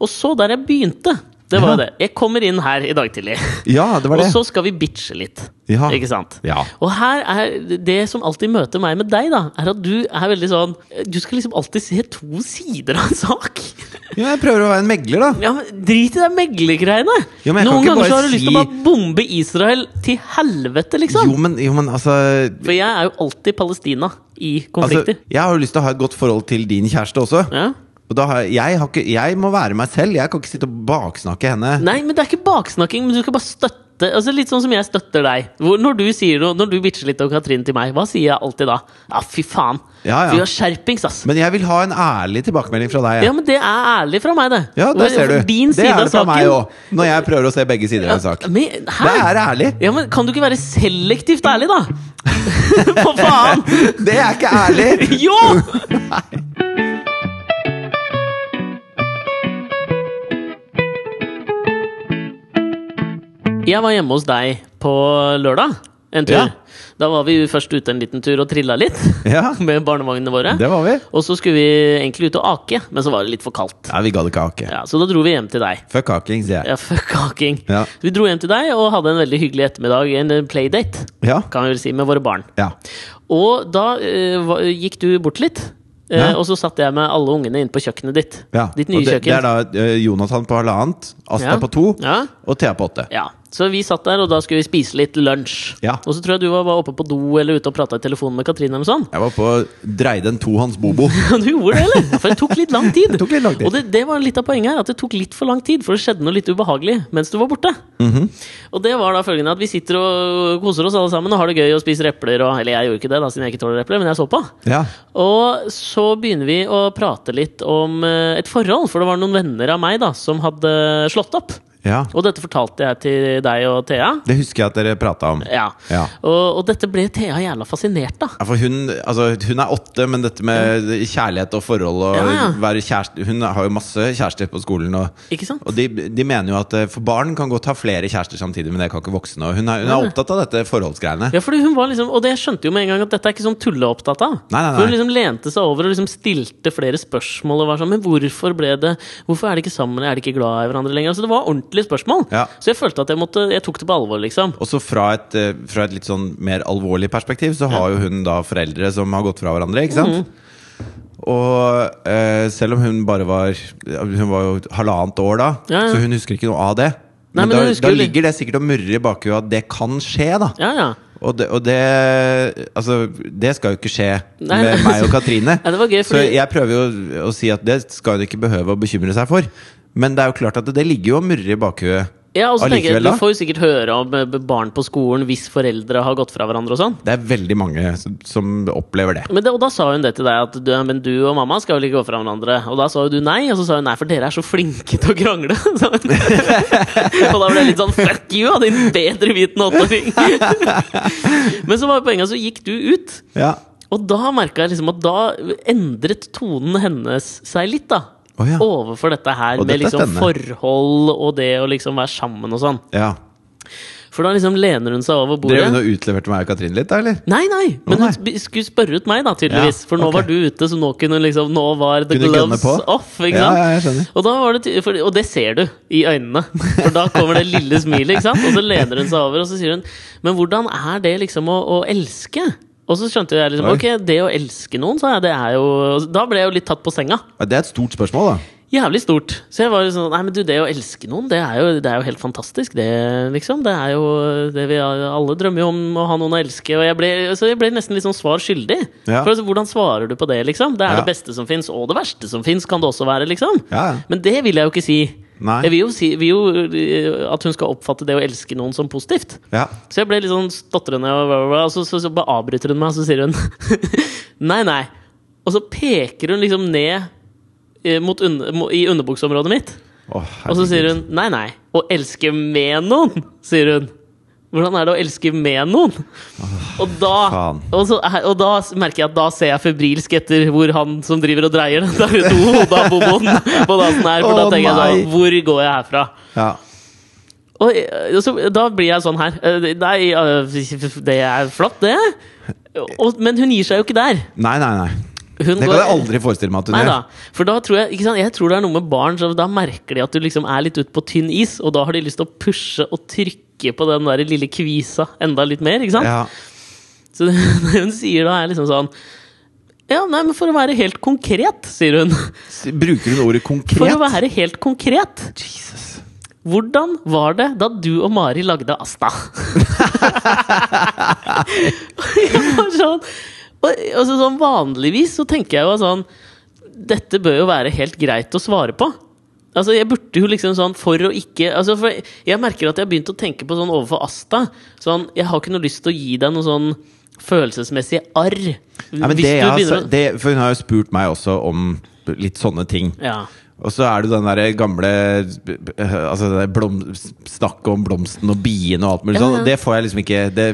B: Og så der jeg begynte, det var
A: Ja.
B: jo det. Jeg kommer inn her i dag tidlig.
A: Ja, det var
B: Og
A: det.
B: så skal vi bitche litt.
A: Ja.
B: Ikke sant?
A: Ja.
B: Og her er det som alltid møter meg med deg, da, er at du er veldig sånn Du skal liksom alltid se to sider av en sak.
A: Ja, jeg prøver å være en megler, da.
B: Ja, men Drit i de meglergreiene!
A: Jo, men jeg kan
B: Noen
A: ikke
B: ganger
A: bare
B: så har du lyst til å
A: si-
B: bare bombe Israel til helvete, liksom.
A: Jo, men, jo, men altså,
B: For jeg er jo alltid Palestina i
A: altså
B: konflikter.
A: Jeg har jo lyst til å ha et godt forhold til din kjæreste også.
B: ja?
A: Og da har, jeg- jeg, har ikke, jeg må være meg selv. Jeg kan ikke sitte og baksnakke henne.
B: Nei, men det er ikke baksnakking, men du skal bare støtte. Altså Litt sånn som jeg støtter deg. Hvor, når du sier noe, når du bitcher litt om Katrin til meg, hva sier jeg alltid da? Ja, fy faen.
A: Ja, ja.
B: Fy, har skjerpings, ass.
A: Men jeg vil ha en ærlig tilbakemelding fra deg.
B: Ja, men det er ærlig fra meg, det. liksom
A: Ja, der ser du.
B: Din
A: det
B: side
A: er det fra
B: av saken.
A: meg òg, når jeg prøver å se begge sider av en sak.
B: Men,
A: Det
B: hæ?
A: er ærlig.
B: Ja, men kan du ikke være selektivt ærlig, da? For faen!
A: Det er ikke ærlig!
B: Jo! Jeg var hjemme hos deg på lørdag en tur.
A: Ja.
B: Da var vi først ute en liten tur og trilla litt
A: Ja,
B: med barnevognene våre.
A: det var vi.
B: Og så skulle vi egentlig ut og ake, men så var det litt for kaldt.
A: Nei, vi gadd ikke hake.
B: Ja, så da dro vi hjem til deg.
A: Fuck haking, sier jeg.
B: Ja, fuck aking.
A: Ja.
B: Så vi dro hjem til deg og hadde en veldig hyggelig ettermiddag, en eh, playdate,
A: Ja.
B: kan vi vel si, med våre barn.
A: ja.
B: Og da eh, hva- gikk du bort litt, eh,
A: Ja.
B: og så satt jeg med alle ungene inne på kjøkkenet ditt.
A: ja.
B: Ditt nye
A: og det,
B: kjøkken.
A: det er da eh, Jonathan på halvannet, Asta
B: Ja.
A: på to
B: Ja.
A: og Thea på åtte.
B: Ja, Så vi satt der, og da skulle vi spise litt lunsj.
A: Ja.
B: Og så tror jeg du var, var oppe på do eller ute og prata i telefonen med Katrine. eller noe sånt.
A: Jeg var på Dreide en tohånds bobo.
B: Du gjorde det, eller? Ja, For det tok litt lang tid.
A: Det tok litt lang tid.
B: Og det, det var litt av poenget her, at det tok litt for lang tid, for det skjedde noe litt ubehagelig mens du var borte.
A: Mhm.
B: Og det var da følgende at vi sitter og koser oss alle sammen og har det gøy og spiser epler og Eller jeg gjorde ikke det, da, siden jeg ikke tåler epler, men jeg så på.
A: Ja.
B: Og så begynner vi å prate litt om eh, et forhold, for det var noen venner av meg da, som hadde slått opp.
A: Ja.
B: Og dette fortalte jeg til deg og Thea.
A: Det husker jeg at dere prata om.
B: Ja.
A: Ja.
B: Og, og dette ble Thea jævla fascinert av.
A: Ja, for hun, altså, hun er åtte, men dette med kjærlighet og forhold og
B: Ja, ja.
A: være kjæreste Hun har jo masse kjærester på skolen. Og,
B: Ikke sant?
A: og de, de mener jo at eh, for barn kan godt ha flere kjærester samtidig, men det kan ikke voksne. Og hun er, hun er opptatt av dette forholdsgreiene.
B: Ja, fordi hun var liksom, Og det skjønte jo med en gang at dette er ikke sånn tulleopptatt av.
A: Nei, nei, nei.
B: For Hun liksom lente seg over og liksom stilte flere spørsmål. og var sånn, Men hvorfor ble det Hvorfor er de ikke sammen? Er de ikke glad i hverandre lenger? Altså, Det var ordentlige spørsmål.
A: Ja.
B: Så jeg følte at jeg måtte, jeg tok det på alvor, liksom.
A: Og så fra et, eh, fra et litt sånn mer alvorlig perspektiv, så har jo hun da foreldre som har gått fra hverandre, ikke
B: Mhm.
A: sant? Og eh, selv om hun bare var Hun var jo halvannet år da,
B: Ja, ja.
A: så hun husker ikke noe av det.
B: Nei,
A: Men,
B: men hun
A: da,
B: husker
A: da
B: jo litt-
A: ligger det sikkert og murrer i bakhuet at det kan skje, da.
B: Ja, ja.
A: Og det, og det Altså, det skal jo ikke skje
B: Nei,
A: med
B: nei.
A: meg og Katrine.
B: Ja, det var gøy,
A: Så
B: fordi-
A: jeg prøver jo å, å si at det skal hun ikke behøve å bekymre seg for. Men det er jo klart at det, det ligger jo og murrer i bakhuet
B: Ja, og så tenker jeg,
A: allikevel,
B: Du
A: da.
B: får jo sikkert høre om eh, barn på skolen hvis foreldre har gått fra hverandre. og sånn
A: Det er veldig mange som, som opplever det.
B: men det, Og da sa hun det til deg, at du, men du og mamma skal vel ikke gå fra hverandre. Og da sa jo du nei, og så sa hun nei, for dere er så flinke til å krangle. sa hun. og da ble det litt sånn fuck you, av din bedrevitende åtteåring. men så var jo poenget, så gikk du ut.
A: Ja.
B: Og da merka jeg liksom at da endret tonen hennes seg litt, da.
A: Å ja.
B: Overfor dette her
A: Og
B: med
A: dette er
B: liksom
A: spennende.
B: forhold og det å liksom være sammen og sånn.
A: ja.
B: For da liksom lener hun seg over bordet.
A: Drev hun og utleverte meg og Katrin litt, da, eller?
B: Nei, nei,
A: Å,
B: men
A: nei.
B: hun sp- skulle spørre ut meg, da, tydeligvis.
A: Ja,
B: for nå
A: ok.
B: var du ute, så nå kunne hun liksom Nå var the
A: Kunne gønne
B: gloves
A: på.
B: off.
A: Ja,
B: Ikke sant?
A: ja, jeg skjønner.
B: Og, da var det ty for, og det ser du i øynene. For da kommer det lille smilet, ikke sant? Og så lener hun seg over, og så sier hun Men hvordan er det liksom å, å elske? Og så skjønte jeg liksom
A: Oi.
B: Ok, det å elske noen, sa jeg, det er jo Da ble jeg jo litt tatt på senga.
A: Ja, Det er et stort spørsmål, da.
B: Jævlig stort. Så jeg var jo sånn Nei, men du, det å elske noen, det er jo, det er jo helt fantastisk, det, liksom. Det er jo det vi alle drømmer jo om å ha noen å elske. Og jeg ble, så jeg ble nesten litt sånn svar skyldig.
A: Ja.
B: For altså, hvordan svarer du på det, liksom? Det er
A: Ja.
B: det beste som fins, og det verste som fins, kan det også være, liksom.
A: Ja, ja.
B: Men det vil jeg jo ikke si.
A: Nei.
B: Jeg vil jo si vil jo, øh, at hun skal oppfatte det å elske noen som positivt.
A: Ja.
B: Så jeg ble litt sånn stotrende, og, bla, bla, bla, og så, så, så bare avbryter hun meg, og så sier hun nei, nei. Og så peker hun liksom ned eh, mot un mo- i underbukseområdet mitt.
A: Å,
B: Og så
A: herregud.
B: sier hun nei, nei. Å elske med noen, sier hun. Hvordan er det å elske med noen? Og da,
A: faen.
B: og, så, er- og da s- merker jeg at da ser jeg febrilsk etter hvor han som driver og dreier den der to hodet av boboen på dassen her. For da
A: Å,
B: tenker jeg
A: nei.
B: da, hvor går jeg herfra?
A: ja.
B: Og, eh, så, da blir jeg sånn her. eh, Nei, eh, det er flott, det. Og, men hun gir seg jo ikke der.
A: Nei, nei, nei.
B: Hun
A: Det kan jeg aldri forestille meg at hun
B: Nei
A: gjør.
B: da. For da tror jeg ikke sant? Jeg tror det er noe med barn som da merker de at du liksom er litt ute på tynn is, og da har de lyst til å pushe og trykke på den der lille kvisa enda litt mer, ikke sant?
A: Ja.
B: Så det hun sier da, er liksom sånn Ja, nei, men for å være helt konkret, sier hun.
A: S- Bruker hun ordet
B: For å
A: konkret?
B: være helt konkret.
A: Jesus.
B: Hvordan var det da du og Mari lagde Asta? jeg var sånn, og, og så sånn Vanligvis så tenker jeg jo sånn Dette bør jo være helt greit å svare på. Altså Jeg burde jo liksom sånn for å ikke altså for Jeg merker at jeg har begynt å tenke på sånn overfor Asta. Sånn, Jeg har ikke noe lyst til å gi deg noe sånn følelsesmessig arr.
A: Nei, men
B: hvis
A: det,
B: du
A: jeg har sa-
B: begynner å-
A: det, for hun har jo spurt meg også om litt sånne ting.
B: ja.
A: Og så er det den der gamle eh, Altså det der blom, Snakket om blomsten og bien og alt mulig
B: Ja,
A: sånn.
B: ja.
A: og Det får jeg liksom ikke det,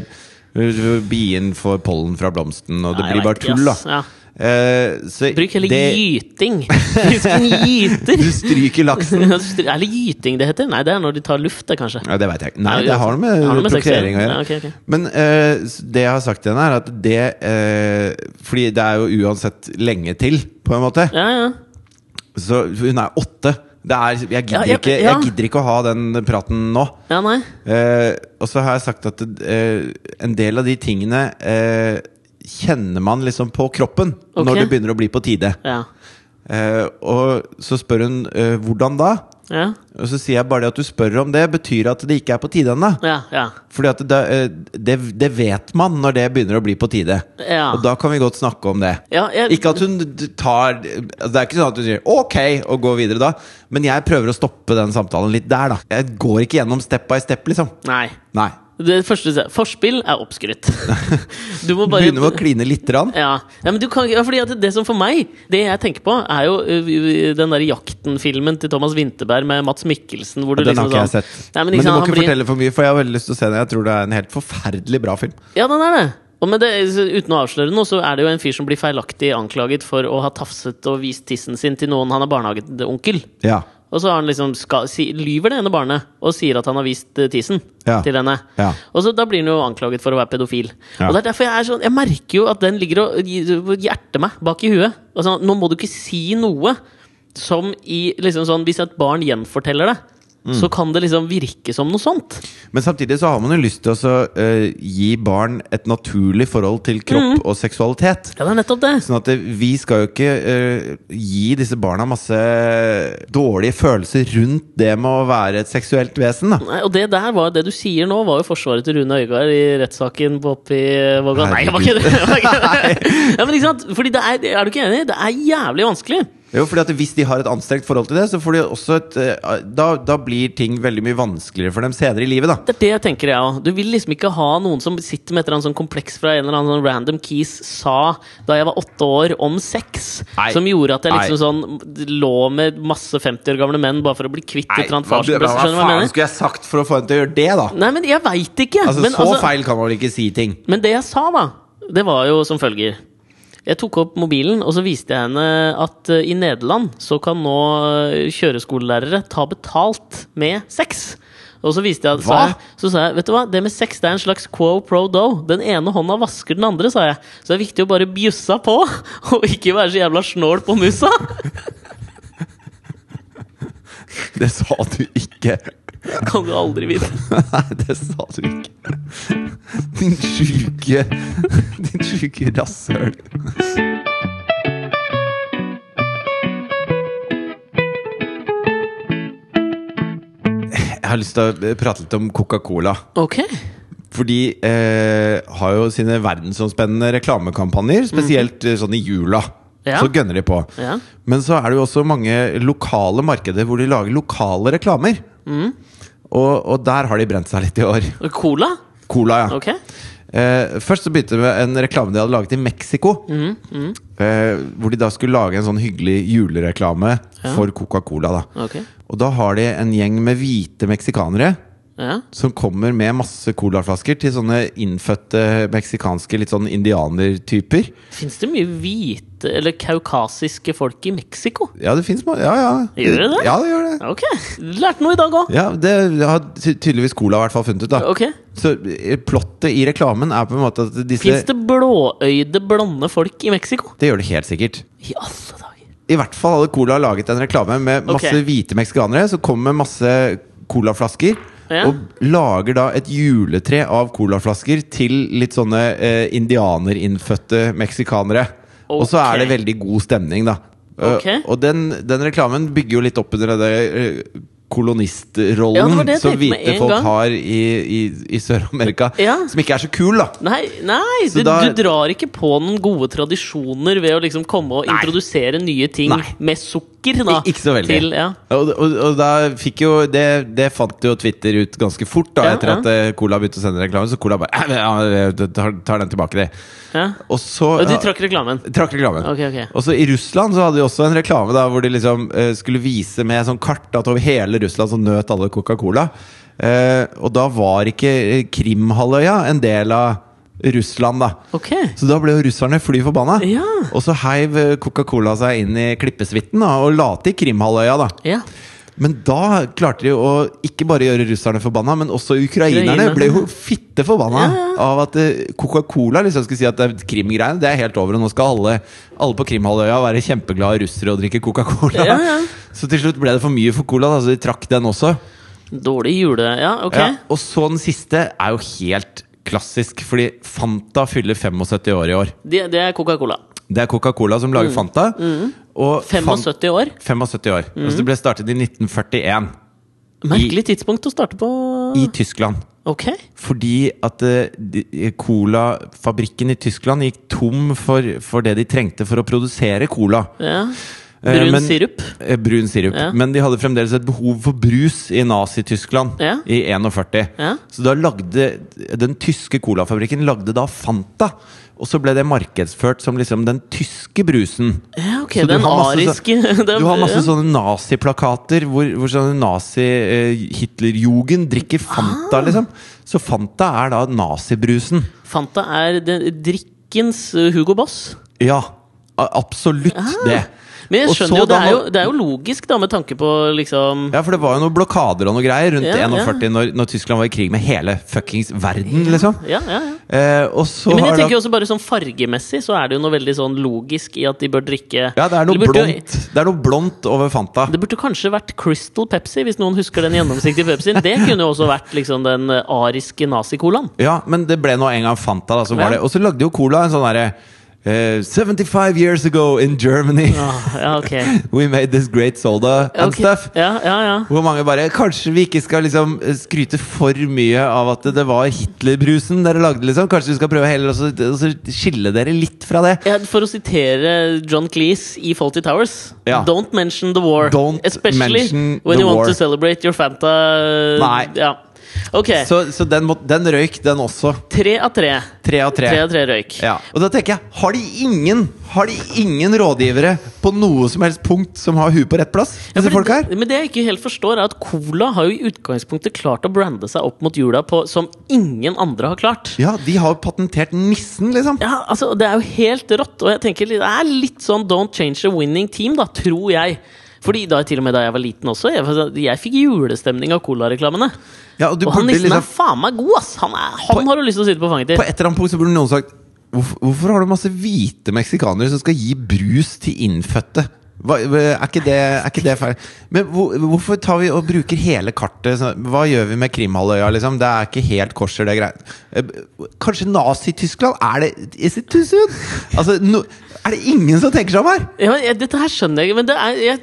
A: Bien får pollen fra blomsten, og det
B: Nei, jeg
A: blir bare
B: vet ikke,
A: tull, da.
B: ass. Ja.
A: Eh, så
B: Bruk heller
A: det-
B: gyting. Fisken gyter.
A: Du stryker laksen.
B: er det gyting det heter? Nei, det er når de tar luft, det, kanskje.
A: Ja, det veit jeg ikke. Nei,
B: Nei,
A: det har noe med,
B: har noe med sex å gjøre.
A: prokreering å gjøre.
B: Ja, ok, ok.
A: Men eh, s- det jeg har sagt til henne, er at det eh, Fordi det er jo uansett lenge til, på en måte.
B: Ja, ja.
A: Så hun er åtte. Det er, jeg, gidder
B: Ja, jeg-
A: ikke,
B: ja.
A: jeg gidder ikke å ha den praten nå.
B: Ja, nei.
A: Eh, og så har jeg sagt at eh, en del av de tingene eh, kjenner man liksom på kroppen
B: Ok.
A: når det begynner å bli på tide.
B: Ja.
A: Eh, og så spør hun eh, hvordan da?
B: Ja,
A: Og så sier jeg bare det at du spør om det, betyr at det ikke er på tide ennå.
B: ja. ja.
A: Fordi at det, eh, det, det vet man når det begynner å bli på tide.
B: Ja.
A: Og da kan vi godt snakke om det.
B: Ja, jeg-
A: Ikke at hun d- tar altså Det er ikke sånn at hun sier 'ok' og går videre da. Men jeg prøver å stoppe den samtalen litt der, da. Jeg går ikke gjennom step by step, liksom.
B: Nei.
A: Nei.
B: Det første se- Forspill er oppskrytt. Du må bare
A: Begynner med å kline litt. Rann.
B: ja. ja, men du kan, ikke- ja, fordi at det som for meg Det jeg tenker på, er jo ø, ø, den der Jakten-filmen til Thomas Winterberg med Mats Mikkelsen. Hvor du
A: Den har
B: liksom
A: ikke jeg
B: sånn-
A: sett.
B: Nei, men
A: men
B: ikke
A: du
B: sant,
A: må
B: han
A: ikke
B: blir-
A: fortelle for mye, for jeg har veldig lyst til å se den. Jeg tror det er en helt forferdelig bra film.
B: Ja, den er det. Og med det, så uten å avsløre noe, så er det jo en fyr som blir feilaktig anklaget for å ha tafset og vist tissen sin til noen han er barnehageonkel.
A: Ja.
B: Og så har han liksom ska, si, lyver det ene barnet og sier at han har vist eh, tissen
A: Ja.
B: til henne.
A: Ja.
B: Og så da blir han jo anklaget for å være pedofil.
A: Ja.
B: Og det er derfor jeg er sånn Jeg merker jo at den ligger og gi- hjerter meg bak i huet. Altså, nå må du ikke si noe som i liksom sånn Hvis et barn gjenforteller det, så kan det liksom virke som noe sånt.
A: Men samtidig så har man jo lyst til å så, eh, gi barn et naturlig forhold til kropp
B: Mm.
A: og seksualitet.
B: Ja, det er nettopp det.
A: Sånn at eh, vi skal jo ikke eh, gi disse barna masse dårlige følelser rundt det med å være et seksuelt vesen. Da.
B: Nei, og det der var det du sier nå, var jo forsvaret til Rune Øygard i rettssaken på oppi Våga. Nei, jeg var ikke det! Jeg var ikke det. Ja, men ikke sant? Fordi det er, er du ikke enig? Det er jævlig vanskelig.
A: Jo, fordi at Hvis de har et anstrengt forhold til det, så får de også et, eh, da, da blir ting veldig mye vanskeligere for dem senere i livet. da
B: Det er det jeg tenker, jeg òg. Du vil liksom ikke ha noen som sitter med et eller annet sånn kompleks fra en eller annen sånn random keys sa da jeg var åtte år, om sex.
A: Nei.
B: Som gjorde at jeg
A: Nei.
B: liksom sånn lå med masse 50 år gamle menn bare for å bli kvitt et eller annet
A: hva, hva,
B: farsbrøst. Skjønner du hva jeg
A: faen
B: mener?
A: skulle jeg sagt for å få dem til å gjøre det, da?
B: Nei, men jeg veit ikke!
A: Altså,
B: men,
A: Så feil kan man vel ikke si ting?
B: Men det jeg sa, da, det var jo som følger. Jeg tok opp mobilen, og så viste jeg henne at eh, i Nederland så kan nå eh, kjøreskolelærere ta betalt med sex. Og så viste jeg, sa
A: Hva?
B: jeg Så sa jeg, vet du hva, det med sex det er en slags quo pro do. Den ene hånda vasker den andre, sa jeg. Så det er viktig å bare bjussa på, og ikke være så jævla snål på musa.
A: Det sa du ikke.
B: Kan du aldri vite.
A: Nei, det sa du ikke. Din sjuke Din sjuke rasshøl. Jeg har lyst til å prate litt om Coca-Cola.
B: Ok.
A: For de eh, har jo sine verdensomspennende reklamekampanjer, spesielt eh, sånn i jula.
B: Ja.
A: Så gønner de på.
B: Ja.
A: Men så er det jo også mange lokale markeder hvor de lager lokale reklamer. Og, og der har de brent seg litt i år.
B: Cola?
A: Cola, ja.
B: Ok.
A: Eh, først så begynte det med en reklame de hadde laget i Mexico.
B: Mhm,
A: Eh, hvor de da skulle lage en sånn hyggelig julereklame for Coca-Cola. da
B: Ok.
A: Og da har de en gjeng med hvite meksikanere
B: Ja.
A: som kommer med masse colaflasker til sånne innfødte meksikanske litt sånn indianertyper.
B: Fins det mye hvite eller kaukasiske folk i Mexico?
A: Ja, det fins Ja, ja.
B: Gjør det det?
A: Ja, det gjør det.
B: Ok, lærte noe i dag òg.
A: Ja, det har ty- tydeligvis Cola i hvert fall funnet ut, da.
B: Ok.
A: Så eh, plottet i reklamen er på en måte at disse
B: Fins det blåøyde, blonde folk i Mexico?
A: Det gjør det helt sikkert.
B: I alle dager.
A: I hvert fall hadde Cola laget en reklame med masse
B: Ok.
A: hvite meksikanere som kom med masse colaflasker.
B: Ja.
A: Og lager da et juletre av colaflasker til litt sånne eh, indianerinnfødte meksikanere. Og så er det
B: Ok.
A: veldig god stemning, da. Eh,
B: Ok.
A: og den, den reklamen bygger jo litt opp under det eh, kolonistrollen
B: Ja, det var det jeg
A: som
B: tenkte med
A: hvite
B: en
A: folk
B: gang.
A: har i, i, i Sør-Amerika.
B: Ja.
A: Som ikke er så kul, da.
B: Nei, nei
A: Så
B: du,
A: da-
B: du drar ikke på noen gode tradisjoner ved å liksom komme og introdusere nye ting
A: Nei.
B: med sukker. Da,
A: Ik- ikke så veldig.
B: Til, ja.
A: Og, og, og da fikk jo det, det fant jo Twitter ut ganske fort, da,
B: Ja,
A: etter
B: ja.
A: at eh, Cola begynte å sende reklame. Så Cola bare «Eh, ja, jeg tar, tar den tilbake, det.
B: Ja.
A: Og så
B: Og de
A: ja,
B: trakk reklamen.
A: trakk reklamen.
B: Ok, ok.
A: Og så I Russland så hadde de også en reklame da hvor de liksom eh, skulle vise med sånn kart at over hele Russland så nøt alle Coca-Cola. Eh, og da var ikke eh, Krimhalvøya en del av Russland, da.
B: Ok.
A: Så da ble jo russerne fly forbanna.
B: Ja.
A: Og så heiv eh, Coca-Cola seg inn i klippesuiten da, og la til Krimhalvøya, da.
B: Ja.
A: Men da klarte de å ikke bare gjøre russerne forbanna, men også ukrainerne
B: Ukrainerne.
A: ble jo fitte forbanna
B: Ja, ja.
A: av at eh, Coca-Cola liksom skulle si at det er krimgreiene, det er helt over, og nå skal alle, alle på Krimhalvøya være kjempeglade russere og drikke Coca-Cola.
B: Ja, ja.
A: Så til slutt ble det for mye for cola, da, så de trakk den også.
B: Dårlig jule... Ja, ok.
A: Ja, og så den siste er jo helt klassisk, fordi Fanta fyller 75 år i år.
B: Det, det er Coca-Cola.
A: Det er Coca-Cola som
B: Mm.
A: lager Fanta. Og Fan-
B: 75 år.
A: 75 år.
B: Mm.
A: Altså, det ble startet i 1941
B: Merkelig tidspunkt å starte på.
A: i Tyskland.
B: Ok.
A: Fordi at eh, de- Colafabrikken i Tyskland gikk tom for, for det de trengte for å produsere cola.
B: Ja.
A: Eh,
B: Brun
A: men-
B: sirup.
A: Eh, Brun sirup.
B: Ja.
A: Men de hadde fremdeles et behov for brus i Nazi-Tyskland
B: Ja.
A: i 41.
B: Ja.
A: Så da lagde den tyske colafabrikken lagde da Fanta. Og så ble det markedsført som liksom den tyske brusen.
B: Ja, ok,
A: Så du
B: den
A: har masse så-
B: ariske den-
A: Du har masse
B: ja.
A: sånne naziplakater hvor, hvor sånne nazi-Hitlerjugend drikker Fanta,
B: Ah.
A: liksom. Så Fanta er da nazibrusen.
B: Fanta er den, drikkens eh, Hugo Boss.
A: Ja, a- absolutt det.
B: Ah. Men jeg
A: Og så
B: skjønner jo det,
A: da
B: er jo,
A: når-
B: det er jo logisk, da, med tanke på liksom
A: Ja, for det var jo noen blokader og noe greier rundt
B: Ja, ja.
A: 41 Når, når Tyskland var i krig med hele fuckings verden, liksom.
B: Ja, ja, ja.
A: Eh, og så
B: Men jeg
A: har da
B: tenker jo også bare sånn fargemessig så er det jo noe veldig sånn logisk i at de bør drikke
A: Ja, det er noe
B: Eller burde jo-
A: blondt Det er noe blondt over Fanta.
B: Det burde kanskje vært Crystal Pepsi, hvis noen husker den gjennomsiktige Pepsien. Det kunne jo også vært liksom den eh, ariske nazicolaen.
A: Ja, men det ble nå en gang Fanta, da. Så var
B: Ja.
A: det. Og så lagde jo Cola en sånn derre eh, 75 years ago in Germany
B: Ah, ja, ok.
A: we made this great soda and
B: Ok.
A: stuff.
B: Ja, ja, ja.
A: Hvor mange bare Kanskje vi ikke skal liksom eh, skryte for mye av at det var Hitlerbrusen dere lagde, liksom. Kanskje vi skal prøve heller å så- å så skille dere litt fra det.
B: Ja, For å sitere John Cleese i Faulty Towers
A: Ja.
B: Don't mention the war.
A: Don't
B: Especially
A: mention
B: when
A: the
B: you
A: war.
B: want to celebrate your Fanta
A: Nei.
B: Ja. Ok.
A: Så, så den, må, den røyk, den også.
B: Tre av tre.
A: Tre av tre.
B: Tre av tre røyk.
A: Ja. Og da tenker jeg, har de ingen Har de ingen rådgivere på noe som helst punkt som har huet på rett plass?
B: Ja,
A: Disse
B: for
A: folk her?
B: det- Men det jeg ikke helt forstår, er at Cola har jo i utgangspunktet klart å brande seg opp mot jula på som ingen andre har klart.
A: Ja, de har patentert nissen, liksom.
B: Ja, altså, Det er jo helt rått, og jeg tenker litt- det er litt sånn don't change a winning team, da, tror jeg. Fordi da, Til og med da jeg var liten også, jeg, jeg fikk julestemning av Cola-reklamene.
A: Ja, og du
B: Og han
A: burde
B: nissen er
A: liksom
B: faen meg god, ass! Han, er, han har du lyst til å sitte på fanget
A: På
B: til.
A: et eller annet punkt så burde noen sagt Hvorfor, hvorfor har du masse hvite meksikanere som skal gi brus til innfødte? Hva, er, ikke det, er ikke det feil? Men hvor, hvorfor tar vi og bruker hele kartet? sånn? Hva gjør vi med Krimhalvøya? Liksom? Det er ikke helt korser, det greiene. Eh, Kanskje Nazi-Tyskland? Er det Is it too soon? Altså, no, er det ingen som tenker seg om her?
B: Ja, jeg, dette her skjønner jeg ikke, men det er jeg,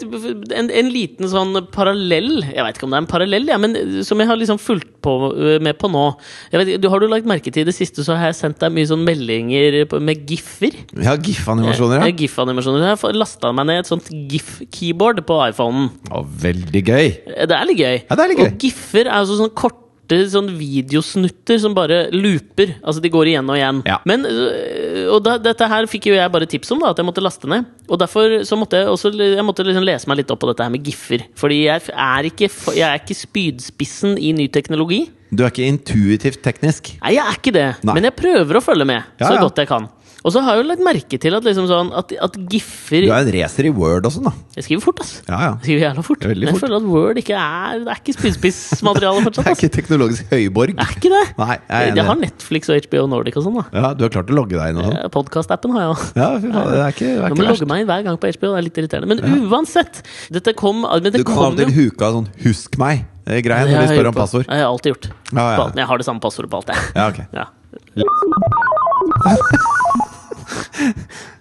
B: en, en liten sånn parallell Jeg vet ikke om det er en parallell, ja, men som jeg har liksom fulgt på, øh, med på nå. Jeg vet, ikke, du, har du lagt merke til i det siste, så har jeg sendt deg mye sånn meldinger på- med giffer.
A: Ja, GIF-animasjoner, ja.
B: Eh, GIF-animasjoner. Jeg har lasta meg ned et sånt GIF-keyboard på iPhonen.
A: Å, veldig gøy!
B: Eh, Det er litt gøy.
A: Ja, det er litt gøy.
B: Og GIF-er er altså sånne korte sånn videosnutter som bare looper. Altså, de går igjen og igjen.
A: Ja.
B: Men, øh, og da, dette her fikk jo jeg bare tips om, da, at jeg måtte laste ned. Og derfor så måtte jeg også jeg måtte liksom lese meg litt opp på dette her med GIF-er. Fordi jeg er ikke, f- jeg er ikke spydspissen i ny teknologi.
A: Du er ikke intuitivt teknisk.
B: Nei, jeg er ikke det,
A: Nei.
B: men jeg prøver å følge med
A: Ja,
B: så
A: ja.
B: godt jeg kan. Og så har jeg jo lagt merke til at, liksom sånn, at, at GIF-er
A: Du er en racer i Word og sånn, da.
B: Jeg skriver fort, ass.
A: Ja, ja.
B: Jeg skriver jævla fort.
A: Det er veldig
B: Men jeg
A: fort.
B: føler at Word ikke er Det er ikke spydspissmateriale
A: Det
B: fortsatt.
A: er
B: ass.
A: ikke teknologisk høyborg.
B: Det er ikke det.
A: Nei, jeg er
B: jeg,
A: enig.
B: har Netflix og HBO Nordic og sånn, da.
A: Ja, du har klart å logge deg inn og sånn.
B: Eh, Podcast-appen har jeg òg.
A: Ja, fy faen, det er ikke, det er
B: Jeg
A: ikke
B: må logge
A: verst.
B: meg inn hver gang på HBO. Det er litt irriterende. Men uansett! Dette kom men
A: Du
B: det
A: kan
B: kom
A: alltid
B: jo-
A: huke av sånn 'husk meg'-greie når de
B: Det har jeg
A: spør om
B: gjort på-
A: passord.
B: Det har jeg alltid gjort.
A: Ja, ja.
B: På alt. Men Jeg har det samme passordet på alt, jeg.
A: Ja, ok.
B: Ja.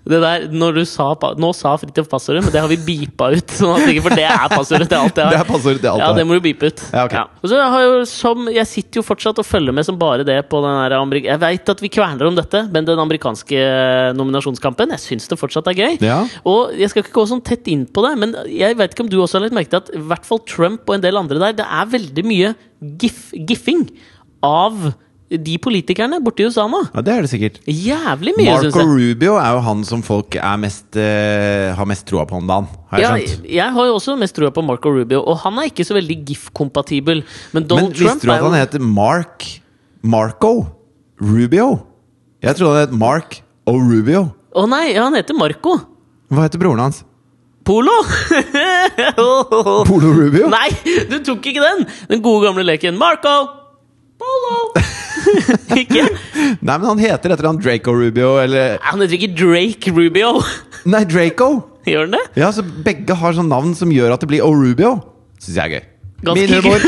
B: Det der, når du sa, pa- nå sa Fridtjof passordet, men det har vi beepa ut. Sånn at, ikke- for det er passordet til alt jeg har.
A: Det er passordet til alt
B: ja,
A: jeg har.
B: det må du beepe ut.
A: Ja, ok.
B: Og så har jeg, jo, som, jeg sitter jo fortsatt og følger med som bare det på den der amerik- Jeg veit at vi kverner om dette, men den amerikanske nominasjonskampen, jeg syns det fortsatt er gøy.
A: Ja.
B: Og jeg skal ikke gå sånn tett inn på det, men jeg vet ikke om du også har lagt merke til at i hvert fall Trump og en del andre der, det er veldig mye gif, giffing av de politikerne borte i USA nå.
A: Ja, det er det sikkert.
B: Jævlig mye, syns
A: Marco
B: jeg.
A: Rubio er jo han som folk er mest, eh, har mest troa på om dagen, har jeg
B: Ja,
A: skjønt.
B: jeg har jo også mest trua på Marco Rubio, og han er ikke så veldig GIF-kompatibel. Men
A: Men
B: Donald Trump
A: visste du at
B: er jo
A: han heter Mark Marco Rubio? Jeg trodde han het Mark og Rubio.
B: Å nei, ja, han heter Marco.
A: Hva heter broren hans?
B: Polo!
A: Polo Rubio?
B: Nei, du tok ikke den! Den gode gamle leken. Marco! Polo! ikke?
A: Nei, men han heter etter han Draco Rubio, eller
B: Han heter ikke Drake Rubio.
A: Nei, Draco!
B: Gjør han det?
A: Ja, så begge har sånn navn som gjør at det blir O'Rubio. Syns jeg er gøy.
B: Ganske
A: Min humor.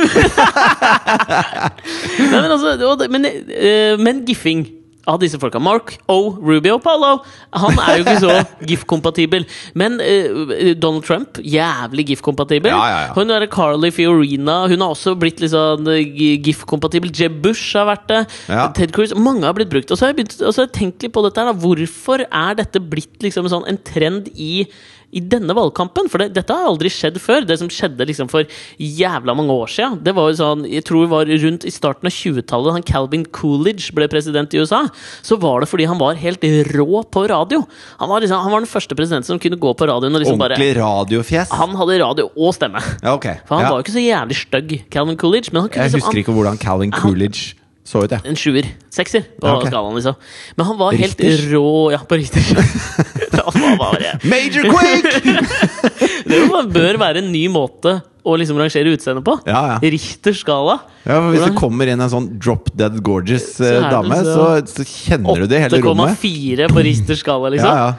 B: Nei, men altså, og det- men, eh, men giffing av disse folka. Mark O. Rubio Paulo. Han er jo ikke så GIF-kompatibel. Men eh, Donald Trump, jævlig GIF-kompatibel.
A: Ja, ja, ja.
B: Hun derre Carly Fiorina Hun har også blitt litt sånn eh, gi- GIF-kompatibel. Jeb Bush har vært det.
A: Ja.
B: Ted Cruz. Mange har blitt brukt. Og så har jeg, begynt, og så har jeg tenkt litt på dette her. Da. Hvorfor er dette blitt liksom en sånn, en trend i i denne valgkampen. For det, dette har aldri skjedd før. Det som skjedde liksom for jævla mange år siden, det var jo sånn Jeg tror det var rundt i starten av 20-tallet, han Calvin Coolidge ble president i USA. Så var det fordi han var helt rå på radio. Han var, liksom, han var den første presidenten som kunne gå på radioen og liksom bare
A: Ordentlig radiofjes?
B: Han hadde radio og stemme.
A: Ja, ok.
B: For han
A: Ja.
B: var jo ikke så jævlig stygg, Calvin Coolidge. Men han kunne
A: Jeg
B: liksom,
A: husker ikke hvordan Calvin Coolidge så ut, jeg.
B: En sjuer. Sekser på
A: Ja, ok.
B: skalaen, liksom. Men han var helt
A: Richters?
B: rå Ja, på Richters. det, var bare,
A: Major Quake!
B: det var- bør være en ny måte å liksom rangere utseendet på.
A: Ja, ja.
B: Richters skala.
A: Ja, for hvis det
B: Hvordan?
A: kommer inn en sånn drop dead gorgeous eh,
B: Så er det
A: dame, så,
B: så-
A: så kjenner du det i hele rommet.
B: 8,4 på Richters skala, liksom.
A: Ja, ja.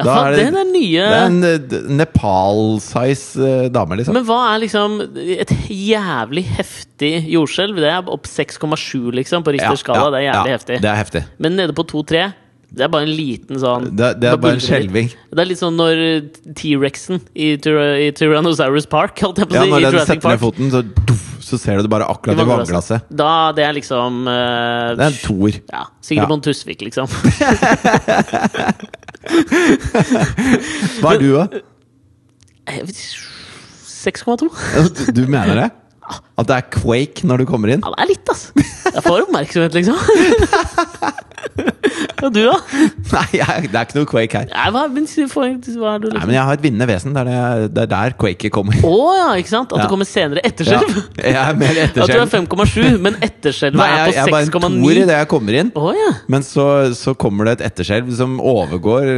B: Ja,
A: Da
B: faen,
A: er det,
B: den er nye.
A: det er en eh, d- Nepal-size eh, dame, liksom.
B: Men hva er liksom et jævlig heftig jordskjelv? Det er opp 6,7 liksom på Richters skala. Det er jævlig
A: ja,
B: heftig.
A: Det er heftig.
B: Men nede på 2-3 det er bare en liten sånn
A: Det, det er bare en
B: buldrer det litt.
A: skjelving.
B: Det er litt sånn når eh, T-rexen i, Tyra- i Tyrannosaurus Park holdt jeg på å
A: Ja,
B: si, i
A: når den
B: Jurassic
A: setter ned
B: Park,
A: foten, så, duff, så ser du det bare
B: i
A: akkurat i vannglasset.
B: Da, det er liksom eh,
A: Det er en toer.
B: ja, Sigrid
A: Ja.
B: Bonde Tusvik, liksom.
A: Hva er du, da?
B: Jeg vet ikke, 6,2?
A: Du, du mener det? At det er quake når du kommer inn?
B: Ja, det er litt, ass. Jeg får oppmerksomhet, liksom. Og du, da?
A: Nei, jeg, det er ikke noe quake her.
B: Nei, hva, men, si- får- hva er du
A: Nei,
B: liksom?
A: men jeg har et vinnende vesen. Det er, det, det er der quaket kommer.
B: Å ja, ikke sant? At
A: Ja.
B: det kommer senere
A: Ja.
B: etterskjelv?
A: Jeg er mer
B: At du er
A: etterskjelv.
B: 5,7, men etterskjelvet
A: Nei,
B: er
A: jeg, jeg er bare
B: på
A: en toer
B: 6,9?
A: idet jeg kommer inn.
B: Å ja.
A: Men så, så kommer det et etterskjelv som overgår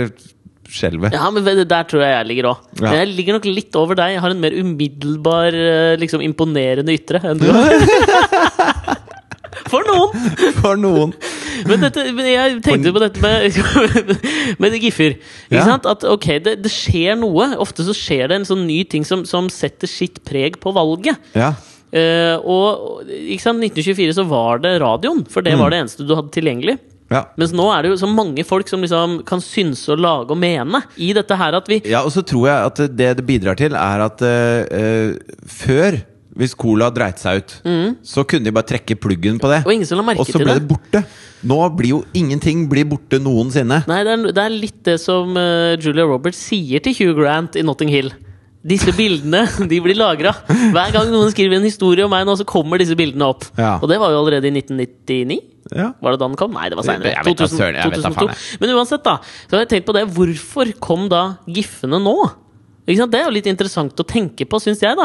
A: skjelvet.
B: Ja, men det der tror jeg jeg ligger òg.
A: Ja.
B: Men Jeg ligger nok litt over deg. Jeg har en mer umiddelbar, eh, liksom imponerende ytre enn du. For noen!
A: For noen.
B: Men, dette, men jeg tenkte på dette med, med giffer. Ikke
A: Ja.
B: sant? At ok, det, det skjer noe. Ofte så skjer det en sånn ny ting som, som setter sitt preg på valget.
A: Ja.
B: Eh, og ikke sant? 1924 så var det radioen, for
A: Mm.
B: det var det eneste du hadde tilgjengelig.
A: ja.
B: Mens nå er det jo så mange folk som liksom kan synse og lage og mene i dette her at vi
A: Ja, og så tror jeg at det det bidrar til, er at eh, eh, før, hvis cola dreit seg ut, så kunne de bare trekke pluggen på det.
B: Og ingen som la merke
A: Mm. Og så
B: til
A: ble
B: det.
A: det borte. Nå blir jo ingenting blir borte noensinne.
B: Nei, det er, det er litt det som eh, Julia Roberts sier til Hugh Grant i Notting Hill. Disse bildene de blir lagra. Hver gang noen skriver en historie om meg nå, så kommer disse bildene opp.
A: Ja.
B: Og det var jo allerede i 1999.
A: Ja.
B: Var det da den kom? Nei, det var seinere.
A: Jeg vet da søren, jeg vet da faen,
B: Men uansett, da. Så har jeg tenkt på det. Hvorfor kom da gif-ene nå? Ikke sant? Det er jo litt interessant å tenke på, syns jeg, da.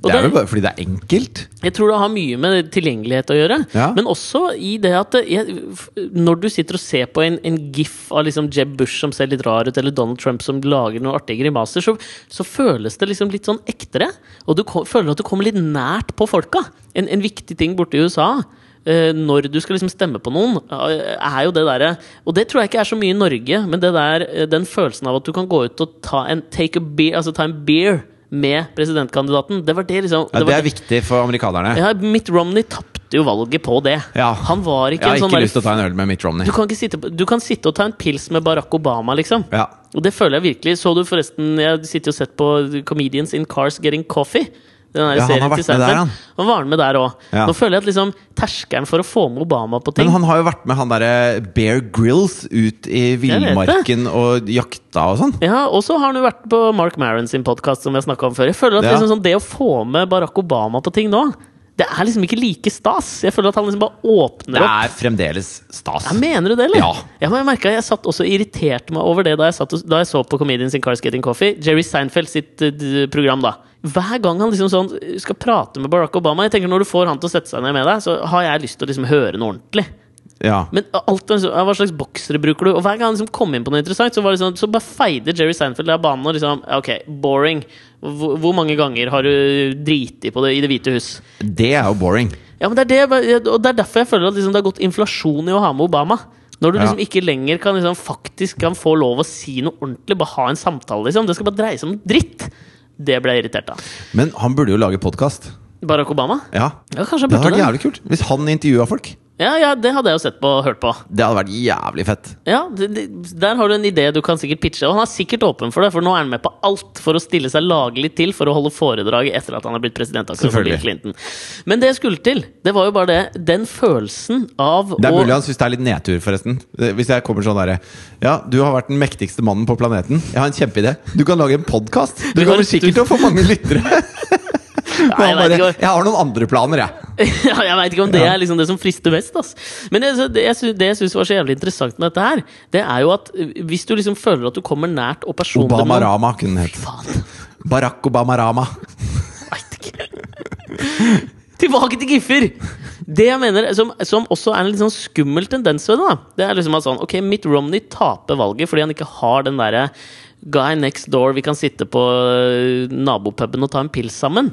B: Og
A: Det er
B: det-
A: vel bare fordi det er enkelt.
B: Jeg tror det har mye med tilgjengelighet å gjøre.
A: Ja.
B: Men også i det at det- jeg, f- når du sitter og ser på en, en gif av liksom Jeb Bush som ser litt rar ut, eller Donald Trump som lager noen artige grimaser, så, så føles det liksom litt sånn ektere. Og du ko- føler at du kommer litt nært på folka. En, en viktig ting borte i USA. eh, når du skal liksom stemme på noen, eh, er jo det derre Og det tror jeg ikke er så mye i Norge, men det der, eh, den følelsen av at du kan gå ut og ta en, take a beer, altså ta en beer med presidentkandidaten, det var det
A: Ja,
B: liksom det
A: det er
B: var
A: viktig for amerikanerne.
B: ja, Mitt Romney tapte jo valget på det.
A: Ja.
B: Han var
A: Jeg
B: ikke
A: har
B: en sånn
A: ikke
B: der-
A: lyst til å ta en øl med Mitt Romney.
B: du, kan ikke sitte, på- du kan sitte og ta en pils med Barack Obama, liksom.
A: Ja.
B: Og det føler jeg virkelig. Så du forresten Jeg sitter jo og sett på Comedians in Cars Getting Coffee. Den der
A: Ja, han
B: serien
A: har vært
B: til
A: med der,
B: Seinfeld.
A: han.
B: Han var med der òg.
A: Ja.
B: Nå føler jeg at liksom terskelen for å få med Obama på ting
A: Men han har jo vært med han derre Bear Grills ut i villmarken og jakta og sånn.
B: Ja, Og så har han jo vært på Mark Maron sin podkast, som jeg snakka om før. Jeg føler at
A: Ja.
B: liksom sånn, Det å få med Barack Obama på ting nå, det er liksom ikke like stas. Jeg føler at han liksom bare åpner
A: Det
B: opp.
A: er fremdeles stas.
B: Ja, mener du det, eller?
A: Ja.
B: men jeg merket, jeg satt også og irriterte meg over det da jeg, satt, og- da jeg så på Comedians in Cars Getting Coffee. Jerry Seinfeld sitt eh, d- program, da. Hver gang han liksom sånn eh, skal prate med Barack Obama Jeg tenker Når du får han til å sette seg ned med deg, så har jeg lyst til å liksom høre noe ordentlig.
A: Ja.
B: Men alt, var sånn, ja, Hva slags boksere bruker du? Og Hver gang han liksom kom inn på noe interessant, så, var det sånn, så bare feide Jerry Seinfeld av banen. Og liksom, ja, ok, boring. Hvor, hvor mange ganger har du driti på det i Det hvite hus?
A: Det er jo boring.
B: Ja, men det er, det, og det er derfor jeg føler at liksom det har gått inflasjon i å ha med Obama. Når du
A: Ja.
B: liksom ikke lenger kan liksom faktisk kan få lov å si noe ordentlig, bare ha en samtale. liksom Det skal bare dreie seg om dritt! Det ble jeg irritert av.
A: Men han burde jo lage podkast.
B: Barack Obama?
A: Ja.
B: Ja, kanskje han
A: Det hadde
B: burde
A: vært
B: det.
A: jævlig kult hvis han intervjua folk.
B: Ja, ja, det hadde jeg jo sett på og hørt på.
A: Det hadde vært jævlig fett.
B: Ja, det, det, Der har du en idé du kan sikkert pitche. Og han er sikkert åpen for det, for nå er han med på alt for å stille seg laglig til for å holde foredrag etter at han er blitt president. akkurat som Bill
A: Selvfølgelig.
B: Clinton. Men det jeg skulle til, det var jo bare det. Den følelsen av
A: Det er
B: å
A: mulig han syns det er litt nedtur, forresten. Eh, Hvis jeg kommer sånn derre Ja, du har vært den mektigste mannen på planeten. Jeg har en kjempeidé. Du kan lage en podkast! Du
B: Du har-
A: kommer sikkert til å få mange lyttere! Men han
B: jeg vet
A: bare,
B: ikke hva-
A: jeg har noen andre planer, jeg.
B: ja, jeg veit ikke om det
A: Ja.
B: er liksom det som frister mest. Ass. Men jeg, det jeg, sy- det jeg syns var så jævlig interessant med dette her, det er jo at eh, hvis du liksom føler at du kommer nært og personlig
A: Obama-rama kunne den hett.
B: Faen,
A: Barack Obama-rama.
B: veit ikke. Tilbake til Giffer! Det jeg mener, som, som også er en litt sånn skummel tendens ved det, da. Det er liksom at sånn, ok, Mitt Romney taper valget fordi han ikke har den derre Guy next door, vi kan sitte på eh, nabopuben og ta en pils sammen.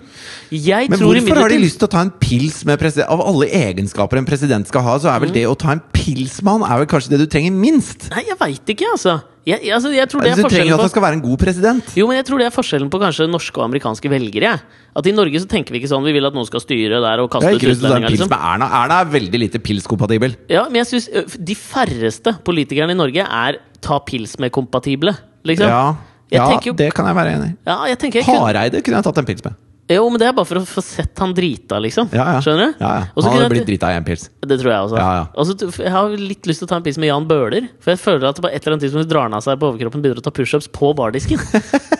B: Jeg
A: Men
B: tror
A: hvorfor har de
B: imidlertid-
A: lyst til å ta en pils med president? Av alle egenskaper en president skal ha, så
B: Mm.
A: er vel det å ta en pils med han Er vel kanskje det du trenger minst?
B: Nei, jeg veit ikke, altså. Jeg, jeg- altså, jeg tror det er
A: Du trenger
B: forskjellen
A: jo at
B: på
A: han skal være en god president.
B: Jo, men jeg tror det er forskjellen på kanskje norske og amerikanske velgere. jeg. At i Norge så tenker vi ikke sånn vi vil at noen skal styre der og
A: Jeg
B: kaste
A: har
B: ut
A: ikke lyst til å ta en
B: utlendinger,
A: pils
B: liksom.
A: med Erna. Erna er veldig lite pilskompatibel.
B: Ja, men jeg synes, ø, f- De færreste politikerne i Norge er ta pils med kompatible, liksom.
A: Ja,
B: Jeg
A: ja
B: tenker jo-
A: det kan jeg være enig i.
B: Ja, jeg tenker jeg kunne,
A: Hareide kunne jeg tatt en pils med.
B: Jo, men det er bare for å få sett han drita, liksom.
A: Ja, ja.
B: Skjønner du?
A: Ja, ja.
B: Og så
A: Han
B: kunne
A: hadde
B: jeg-
A: blitt drita i en pils.
B: Det tror jeg også.
A: Ja, ja.
B: Og så t- f- jeg har litt lyst til å ta en pils med Jan Bøhler. For jeg føler at på et eller annet tidspunkt så drar han av seg på overkroppen og begynner å ta pushups på bardisken.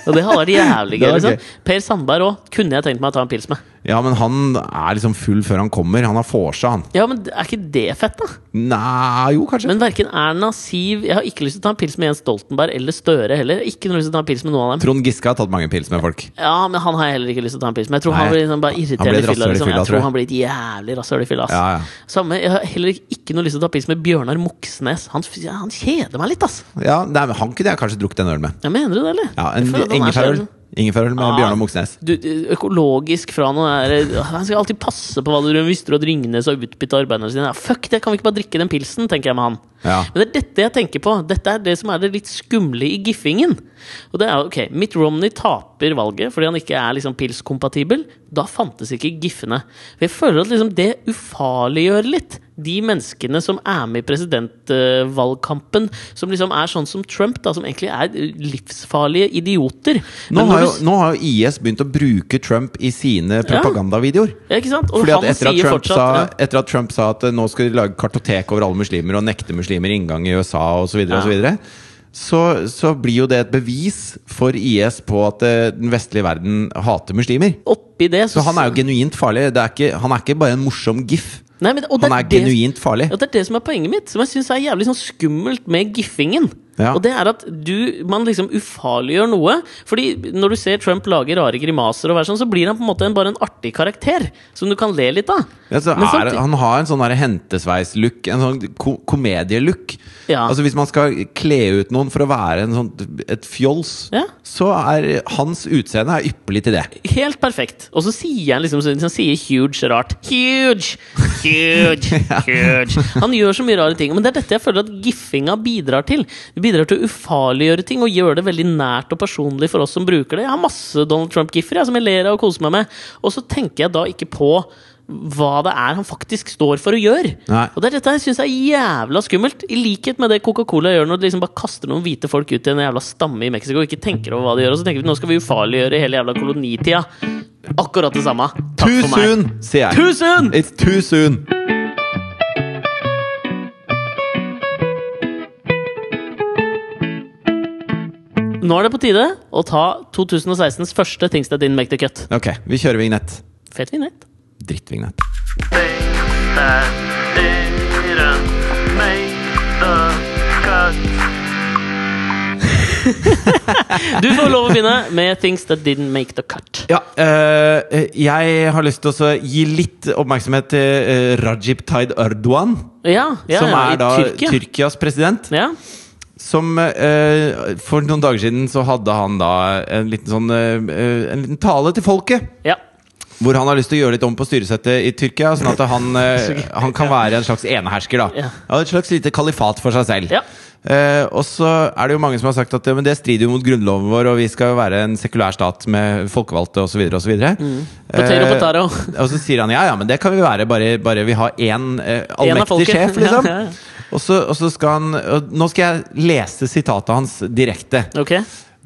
B: og det hadde vært jævlig gøy.
A: Det hadde vært
B: Liksom.
A: gøy.
B: Per Sandberg òg kunne jeg tenkt meg å ta en pils med.
A: Ja, men han er liksom full før han kommer. Han har vorsa, han.
B: Ja, men er ikke det fett, da?
A: Nei, jo, kanskje.
B: Men verken Erna, Siv Jeg har ikke lyst til å ta en pils med Jens Stoltenberg eller Støre heller. Ikke noe lyst til å ta en pils med noen av dem.
A: Trond Giske har tatt mange pils med folk.
B: Ja, men han har jeg heller ikke lyst til å ta en pils med. Jeg tror
A: Nei.
B: han blir liksom bare
A: Han blir et
B: irriterende i fylla.
A: rasshøl i
B: Liksom.
A: fylla, tror jeg.
B: Jeg tror han blir et jævlig rasshøl i fylla. ass.
A: Ja, ja.
B: Samme, jeg har heller ikke, ikke noe lyst til å ta pils med Bjørnar Moxnes. Han, ja, han kjeder meg litt, ass.
A: Ja, nei, men Han kunne jeg kanskje drukket en øl med.
B: Jeg mener du det, eller?
A: Ja,
B: Jeg
A: En
B: føler at han er
A: ingefærøl.
B: så-
A: Ingefærøl med
B: Ja.
A: Bjørnar Moxnes.
B: Du, du, økologisk fra noe der Han skal alltid passe på hva du mister, og at Ringnes har utbytte av arbeiderne sine. Ja, fuck det, kan vi ikke bare drikke den pilsen, tenker jeg med han.
A: Ja.
B: Men det er dette jeg tenker på. Dette er det som er det litt skumle i giffingen. Og det er jo, ok, Mitt Romney taper valget fordi han ikke er liksom pilskompatibel. Da fantes ikke giffene. For jeg føler at liksom det ufarliggjør litt de menneskene som er med i presidentvalgkampen. Som liksom er sånn som Trump, da, som egentlig er livsfarlige idioter.
A: Nå
B: Men når
A: har,
B: du
A: jo, nå har jo IS begynt å bruke Trump i sine propagandavideoer.
B: Ja, ikke sant? Og
A: Fordi at
B: han
A: etter, at
B: sier
A: Trump
B: fortsatt
A: sa,
B: ja.
A: etter at Trump sa at eh, nå skal de lage kartotek over alle muslimer og nekte muslimer inngang i USA osv.,
B: Ja.
A: videre så, så blir jo det et bevis for IS på at eh, den vestlige verden hater muslimer.
B: Oppi det
A: Så han er jo genuint farlig. Det er ikke, han er ikke bare en morsom gif.
B: Nei, men, og det
A: Han er
B: det-
A: genuint farlig.
B: Ja, det er det som er poenget mitt, som jeg syns er jævlig sånn skummelt med giffingen.
A: Ja.
B: Og det er at du, man liksom ufarliggjør noe. Fordi når du ser Trump lage rare grimaser, og være sånn, så blir han på en måte en, bare en artig karakter som du kan le litt av.
A: Ja, så
B: Men
A: er,
B: samtidig-
A: han har en sånn der hentesveis-look, en sånn ko komedielook.
B: Ja.
A: Altså Hvis man skal kle ut noen for å være en sånn, et fjols,
B: Ja.
A: så er hans utseende er ypperlig til det.
B: Helt perfekt. Og så sier han liksom sånn- Han sier huge rart. Huge! Huge! Huge! Han gjør så mye rare ting. Men det er dette jeg føler at giffinga bidrar til. Det bidrar til å ufarliggjøre ting og gjøre det veldig nært og personlig for oss som bruker det. Jeg har masse Donald Trump-giffer jeg, som jeg ler av og koser meg med. Og så tenker jeg da ikke på hva det er han faktisk står for og gjør.
A: Nei.
B: Og det er dette jeg syns er jævla skummelt. I likhet med det Coca-Cola gjør når de liksom bare kaster noen hvite folk ut i en jævla stamme i Mexico og ikke tenker over hva de gjør. Og så tenker vi nå skal vi ufarliggjøre hele jævla kolonitida. Akkurat det samme. Takk
A: Too
B: for meg.
A: soon, sier jeg.
B: Too soon!
A: It's too soon.
B: Nå er det på tide å ta 2016s første Things That Didn't Make The Cut.
A: Ok, vi kjører vignett.
B: Fet vignett.
A: Drittvignett.
C: things that didn't make the cut.
B: Du får lov å begynne med Things That Didn't Make The Cut.
A: Ja, eh, jeg har lyst til å så gi litt oppmerksomhet til eh, Rajib Taid Erdogan,
B: Ja, ja,
A: som
B: ja,
A: er
B: i
A: da
B: Tyrkia.
A: Tyrkias president.
B: ja.
A: Som eh, For noen dager siden så hadde han da en liten sånn eh, En liten tale til folket.
B: ja.
A: Hvor han har lyst til å gjøre litt om på styresettet i Tyrkia, sånn at han, eh, han kan være en slags enehersker. da
B: Ja.
A: ja, Et slags lite kalifat for seg selv.
B: Ja.
A: Eh, og så er det jo mange som har sagt at ja, men det strider jo mot grunnloven vår, og vi skal jo være en sekulær stat med folkevalgte osv. osv.
B: Mm. Potato, potato.
A: Eh, Og så sier han ja, ja, men det kan vi være, bare, bare vi har én eh,
B: En av
A: allmektig
B: folket.
A: sjef, liksom.
B: Ja, ja, ja.
A: Og så, og så skal han og Nå skal jeg lese sitatet hans direkte.
B: Ok.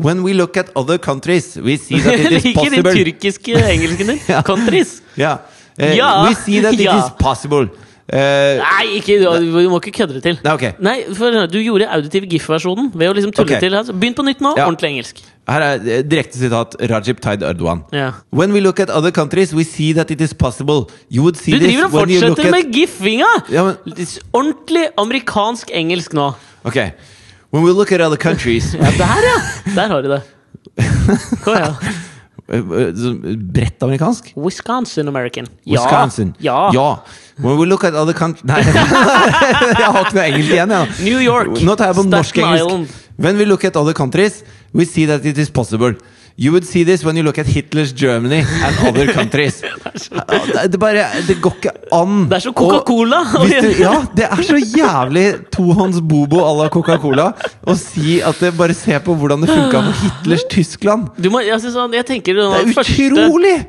A: When we look at other countries, we see that
B: Jeg
A: it is
B: liker de
A: possible.
B: tyrkiske engelskene.
A: Ja.
B: Countries.
A: Ja. Eh,
B: Ja.
A: We see that it
B: Ja.
A: is possible. Eh,
B: Nei, ikke, du du må ikke kødde det til.
A: Nei, ok.
B: Nei, for du gjorde auditiv GIF-versjonen ved å liksom tulle
A: Ok.
B: til. her. Så Begynn på nytt nå.
A: Ja.
B: Ordentlig engelsk.
A: her er eh, direkte sitat Rajib Taid Erdogan.
B: Ja.
A: When we look at other countries, we see that it is possible. You would see
B: Du
A: this
B: driver og
A: when you look
B: fortsetter
A: at...
B: med giffinga!
A: Ja, men-
B: Ordentlig amerikansk engelsk nå.
A: Ok. When we look at other countries
B: Ja, der, ja! Der har du det. Kom igjen.
A: Eh, eh, så Bredt amerikansk?
B: Wisconsin American. Ja.
A: Wisconsin.
B: Ja.
A: When we look at other countries Nei, jeg har ikke noe engelsk igjen. jeg, nå.
B: New York.
A: Nå tar jeg på
B: Staten Island.
A: norsk-engelsk. When we look at other countries, we see that it is possible. You would see this when you look at Hitler's Germany and other countries. Ja, Det, bare, det går ikke an.
B: Det er så Coca-Cola.
A: Og hvis du- Ja, det er så jævlig tohånds bobo à la Coca-Cola å si at det bare se på hvordan det funka for Hitlers Tyskland.
B: Du må, jeg, synes sånn, jeg tenker det
A: Det er
B: første
A: utrolig!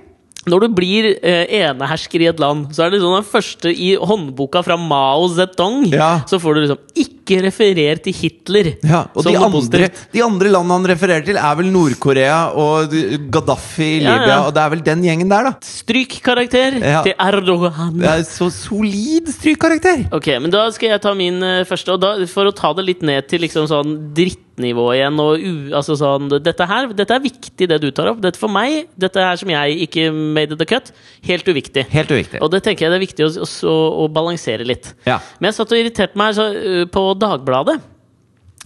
B: Når du blir eh, enehersker i et land, så er det sånn den første i håndboka fra Mao Zedong.
A: Ja.
B: Så får du liksom 'ikke referer til Hitler'.
A: Ja, og
B: som
A: de
B: noe
A: andre,
B: positivt.
A: de andre landene han refererer til, er vel Nord-Korea og Gaddafi i
B: Ja,
A: Libya.
B: ja.
A: Og det er vel den gjengen der, da.
B: Stryk karakter
A: Ja.
B: til Erdogan.
A: Det er så solid strykkarakter!
B: Ok, men Da skal jeg ta min eh, første. Og da, for å ta det litt ned til liksom sånn drittnivå igjen og u, altså sånn, dette, her, dette er viktig, det du tar opp. Dette For meg, dette her som jeg ikke made the cut, helt uviktig.
A: Helt uviktig.
B: Og det tenker jeg det er viktig å, å, å balansere litt.
A: Ja.
B: Men jeg satt og irriterte meg så, uh, på Dagbladet.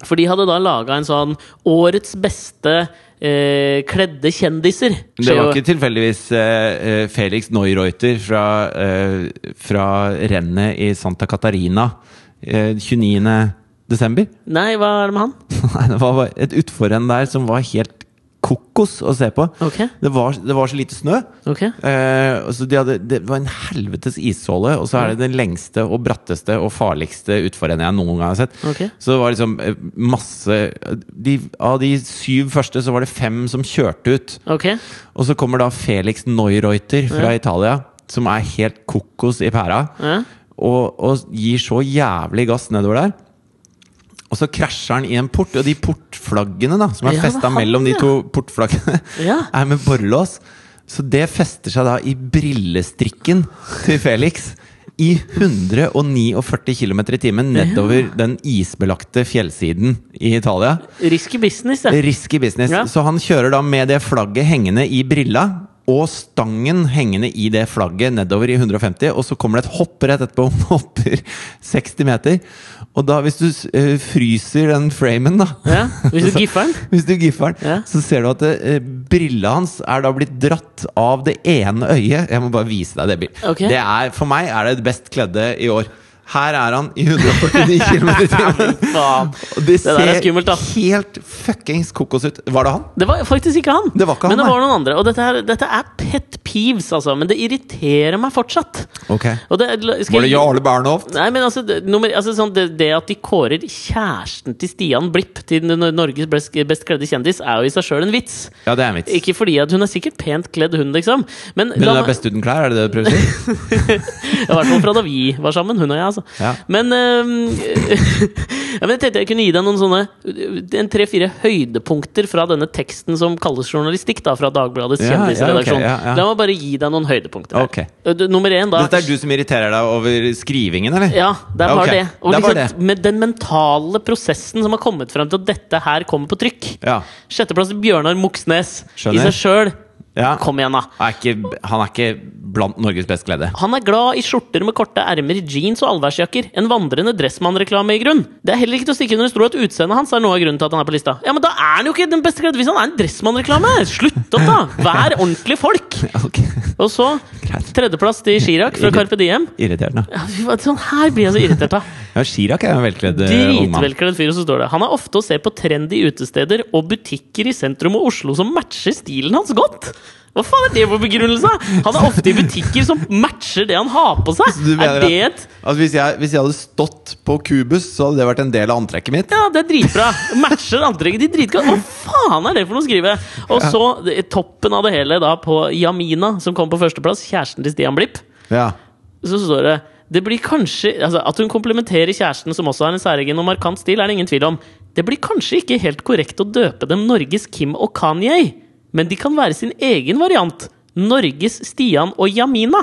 B: For de hadde da laga en sånn Årets beste eh, kledde kjendiser.
A: Det var
B: Så-
A: ikke tilfeldigvis eh, eh, Felix Neureuter fra, eh, fra rennet i Santa Catarina eh, 29. desember?
B: Nei, hva er det med han?
A: Nei, det var bare et utforrenn der som var helt kokos å se på.
B: Ok.
A: Det, var, det var så lite snø.
B: Ok
A: Eh, og så de hadde, det var en helvetes ishåle, og så er det den lengste og bratteste og farligste utforrennet jeg noen gang har sett.
B: Ok.
A: Så det var liksom eh, masse de, Av de syv første så var det fem som kjørte ut.
B: Ok
A: Og så kommer da Felix Neureuter fra Italia, som er helt kokos i pæra.
B: Ja.
A: Og, og gir så jævlig gass nedover der. Og så krasjer han i en port, og de portflaggene da som er
B: Ja, det er
A: festa
B: han,
A: mellom de
B: ja.
A: to portflaggene,
B: Ja.
A: er med borrelås. Så det fester seg da i brillestrikken til Felix. I 149 km i timen nedover den isbelagte fjellsiden i Italia.
B: Risky business, ja.
A: Risky business.
B: Ja.
A: Så han kjører da med det flagget hengende i brilla. Og stangen hengende i det flagget nedover i 150, og så kommer det et hopp rett etterpå. Hun hopper 60 meter. Og da, hvis du eh, fryser den framen, da
B: ja. Hvis du giffer den?
A: Hvis du giffer den,
B: Ja.
A: så ser du at eh, brilla hans er da blitt dratt av det ene øyet. Jeg må bare vise deg det bildet.
B: Ok.
A: Det er, for meg er det det best kledde i år. Her er han i 149 km i timen.
B: Faen.
A: Og det,
B: der er
A: ser
B: skummelt, da.
A: helt fuckings kokos ut. Var det han?
B: Det var faktisk ikke han.
A: Det var ikke
B: men
A: han,
B: det
A: nei.
B: var noen andre. Og dette, her, dette er pet peeves, altså. Men det irriterer meg fortsatt. Og det, skal
A: Var det
B: jeg-
A: Jarle Bernhoft?
B: Nei, men altså, det, nummer, altså sånn, det, det at de kårer kjæresten til Stian Blipp til N- Norges best, best kledde kjendis, er jo i seg sjøl en vits.
A: Ja, det er en vits.
B: Ikke fordi at hun er sikkert pent kledd, hun, liksom. Men,
A: Men
B: la
A: hun
B: meg-
A: er best uten klær, er det det du prøver å si?
B: Ja, I hvert fall fra da vi var sammen, hun og jeg, altså.
A: Ja.
B: Men, øhm, ja, men jeg tenkte jeg kunne gi deg noen sånne øh, en tre-fire høydepunkter fra denne teksten som kalles journalistikk, da, fra Dagbladets
A: Ja,
B: kjendisredaksjon.
A: ja, ok, ja, ja.
B: La meg bare gi deg noen høydepunkter. her.
A: Ok.
B: Øh, du- Nummer én, da
A: Dette er du som irriterer deg over skrivingen, eller?
B: ja, det var
A: Ok,
B: det. Og
A: det var
B: liksom, Med den mentale prosessen som har kommet frem til at dette her kommer på trykk.
A: Ja.
B: Sjetteplass til Bjørnar Moxnes.
A: Skjønner.
B: I seg sjøl.
A: Ja.
B: Kom igjen, da.
A: Er ikke, han er ikke blant Norges best kledde.
B: Han er glad i skjorter med korte ermer, jeans og allværsjakker. En vandrende Dressmann-reklame, i grunn. Det er heller ikke til å stikke under stol at utseendet hans er noe av grunnen til at han er på lista. Ja, men da er han jo ikke den beste kledde hvis han er en Dressmann-reklame! Slutt opp, da! Vær ordentlige folk!
A: Ok,
B: Og så
A: Greit.
B: tredjeplass til Chirag fra Carpe Diem.
A: Irriterende.
B: Ja, fy faen, Sånn her blir jeg så irritert av.
A: Ja, Chirag er jo en velkledd eh, ung mann.
B: Dritvelkledd fyr, og så står det. Han er ofte å se på trendy utesteder og butikker i sentrum av Oslo som matcher stilen hans godt. Hva faen er det for begrunnelse? Han er ofte i butikker som matcher det han har på seg.
A: Så du mener
B: Er det et
A: Altså hvis jeg, hvis jeg hadde stått på kubus, så hadde det vært en del av antrekket mitt.
B: Ja, det er dritbra. Matcher antrekket ditt dritgodt. Hva faen er det for noe å skrive? Og så eh, toppen av det hele da på Jamina, som kom på førsteplass, kjæresten til Stian Blipp.
A: Ja.
B: Så står det det blir kanskje, altså At hun komplementerer kjæresten, som også har en særegen og markant stil, er det ingen tvil om. Det blir kanskje ikke helt korrekt å døpe dem Norges Kim og Kanye, men de kan være sin egen variant. Norges Stian og Jamina.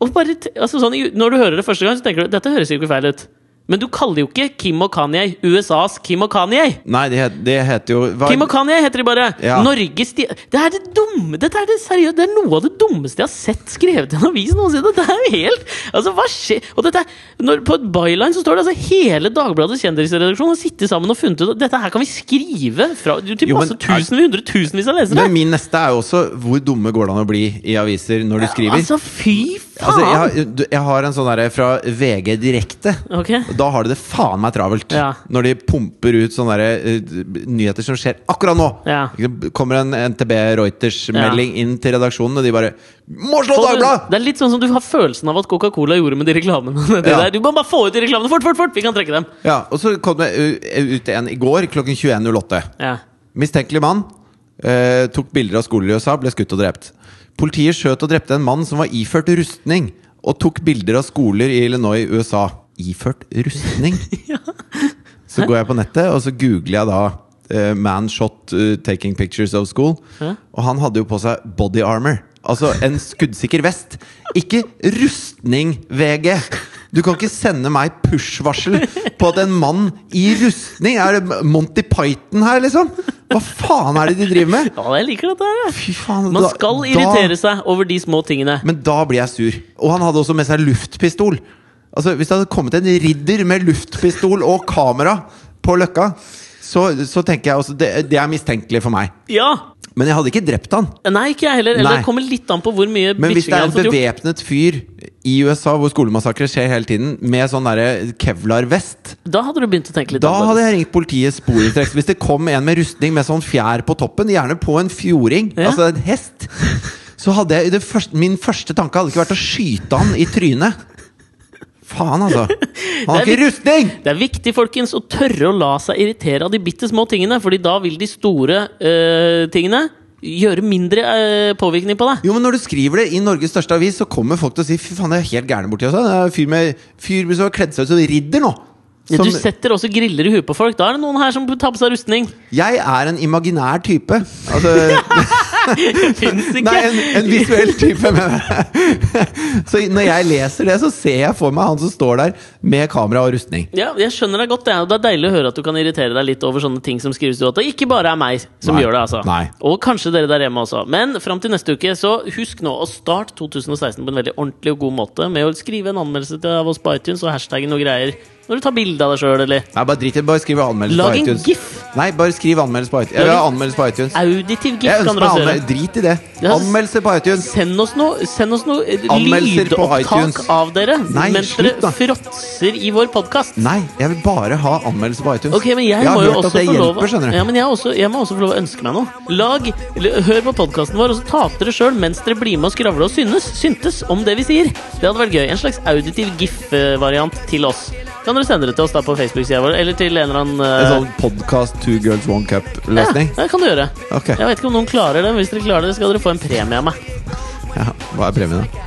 B: Og bare, te- altså sånn, når du hører det første gang, så tenker du dette høres jo ikke feil ut. Men du kaller jo ikke Kim og Kanye USAs Kim og Kanye.
A: Nei, det, het- det heter jo hva-
B: Kim og Kanye heter de bare.
A: Ja.
B: Norges sti... Det er det dumme Dette er det seriøst Det er noe av det dummeste jeg har sett skrevet i en avis noensinne! Det er jo helt Altså, hva skjer Og dette er når, På et byline så står det altså hele Dagbladets kjendisredaksjon har sittet sammen og funnet ut at dette her kan vi skrive fra til
A: Jo, men-
B: masse tusenvis, hundretusenvis av lesere!
A: Men min neste er jo også hvor dumme går det an å bli i aviser når du skriver?
B: Altså, fy faen!
A: Altså, jeg, har- du- jeg har en sånn derre fra VG direkte.
B: Ok.
A: Og Da har de det faen meg travelt.
B: Ja.
A: Når de pumper ut sånne derre, eh, nyheter som skjer akkurat nå.
B: Ja.
A: Det kommer en NTB Reuters-melding inn til redaksjonen, og de bare Må slå
B: Får du-
A: Dagbladet!
B: Det er litt sånn som du har følelsen av at Coca-Cola gjorde med de reklamene. Det
A: Ja.
B: der. Du må bare få ut de reklamene! Fort, fort, fort! Vi kan trekke dem!
A: Ja, og så kom det eh, ut en i går klokken 21.08.
B: Ja.
A: Mistenkelig mann eh, tok bilder av skoler i USA, ble skutt og drept. Politiet skjøt og drepte en mann som var iført rustning, og tok bilder av skoler i Illinois, USA. Iført rustning? Så går jeg på nettet, og så googler jeg da eh, 'Man shot eh, taking pictures of school'.
B: Hæ?
A: Og han hadde jo på seg body armor. Altså en skuddsikker vest. Ikke rustning, VG! Du kan ikke sende meg push-varsel på at en mann i rustning Er det Monty Python her, liksom? Hva faen er det de driver med?
B: ja, jeg liker dette her! jeg.
A: Fy faen,
B: Man
A: da-
B: skal
A: da-
B: irritere seg over de små tingene.
A: Men da blir jeg sur. Og han hadde også med seg luftpistol. Altså Hvis det hadde kommet en ridder med luftpistol og kamera på Løkka, så, så tenker jeg også det, det er mistenkelig for meg.
B: Ja!
A: Men jeg hadde ikke drept han.
B: Nei, ikke jeg heller. Eller
A: Nei.
B: Det kommer litt an på hvor mye
A: Men hvis det
B: bitching jeg
A: er
B: har
A: en
B: fått gjort.
A: bevæpnet fyr i USA hvor skolemassakre skjer hele tiden, med sånn derre kevlar-vest,
B: Da hadde du begynt å tenke litt
A: da hadde
B: annerledes.
A: jeg ringt politiet sporenstreks. Hvis det kom en med rustning med sånn fjær på toppen, gjerne på en fjording,
B: Ja.
A: altså en hest, så hadde jeg det første, Min første tanke hadde ikke vært å skyte han i trynet. Faen, altså. Han har
B: Det er
A: ikke rustning!
B: Det er viktig folkens, å tørre å la seg irritere av de bitte små tingene, Fordi da vil de store øh, tingene gjøre mindre øh, påvirkning på deg.
A: Jo, men Når du skriver det i Norges største avis, så kommer folk til å si fy faen, det er helt gærne borti oss. Det er en fyr, med, fyr som har kledd seg ut som ridder nå.
B: Ja, du
A: Som-
B: setter også griller i huet på folk. Da er det noen her som tar på seg rustning.
A: Jeg er en imaginær type. Altså,
B: Fins ikke!
A: Nei, en, en visuell type, mener jeg. Så når jeg leser det, så ser jeg for meg han som står der med kamera og rustning.
B: Ja, jeg skjønner deg godt. Det er, det er deilig å høre at du kan irritere deg litt over sånne ting som skrives ut. At det ikke bare er meg som
A: Nei.
B: gjør det, altså.
A: Nei.
B: Og kanskje dere der hjemme også. Men fram til neste uke, så husk nå å starte 2016 på en veldig ordentlig og god måte med å skrive en anmeldelse til av oss på iTunes og hashtagge noe greier når du tar bilde av deg sjøl, eller
A: Nei, bare drit i det. Bare skriv anmeldelse
B: Lag
A: på
B: en
A: iTunes.
B: gif.
A: Nei, bare skriv anmeldelse på iTunes. Jeg vil ha
B: Lag en-
A: anmeldelse på iTunes.
B: auditiv gif
A: Jeg
B: kan
A: ønsker meg
B: dere også gjøre.
A: anmeldelse. Drit i det.
B: Ja, s-
A: Anmeldelse på iTunes.
B: Send oss noe, send oss noe eh,
A: Anmeldelser på iTunes.
B: lydopptak av dere
A: Nei,
B: mens
A: slutt da.
B: dere fråtser i vår podkast.
A: Nei, jeg vil bare ha anmeldelse på iTunes.
B: Ok, men jeg,
A: har
B: må jo
A: hørt
B: også
A: at det
B: få lov
A: hjelper, skjønner du.
B: Ja, men jeg, har også, jeg må også få lov å ønske meg noe. Lag, eller, Hør på podkasten vår, og så taper dere sjøl mens dere blir med og skravler og synes, syntes om det vi sier. Det hadde vært gøy. En slags auditiv gif-variant til oss. Kan dere sende det til oss da på Facebook-sida vår, eller til en eller annen
A: En
B: eh,
A: sånn podkast Two Girls One
B: ja,
A: Cup-løsning.
B: det kan du gjøre.
A: Ok.
B: Jeg vet ikke om noen klarer det, men hvis dere klarer det, skal dere få en premie av meg.
A: Ja. Hva er premien, da?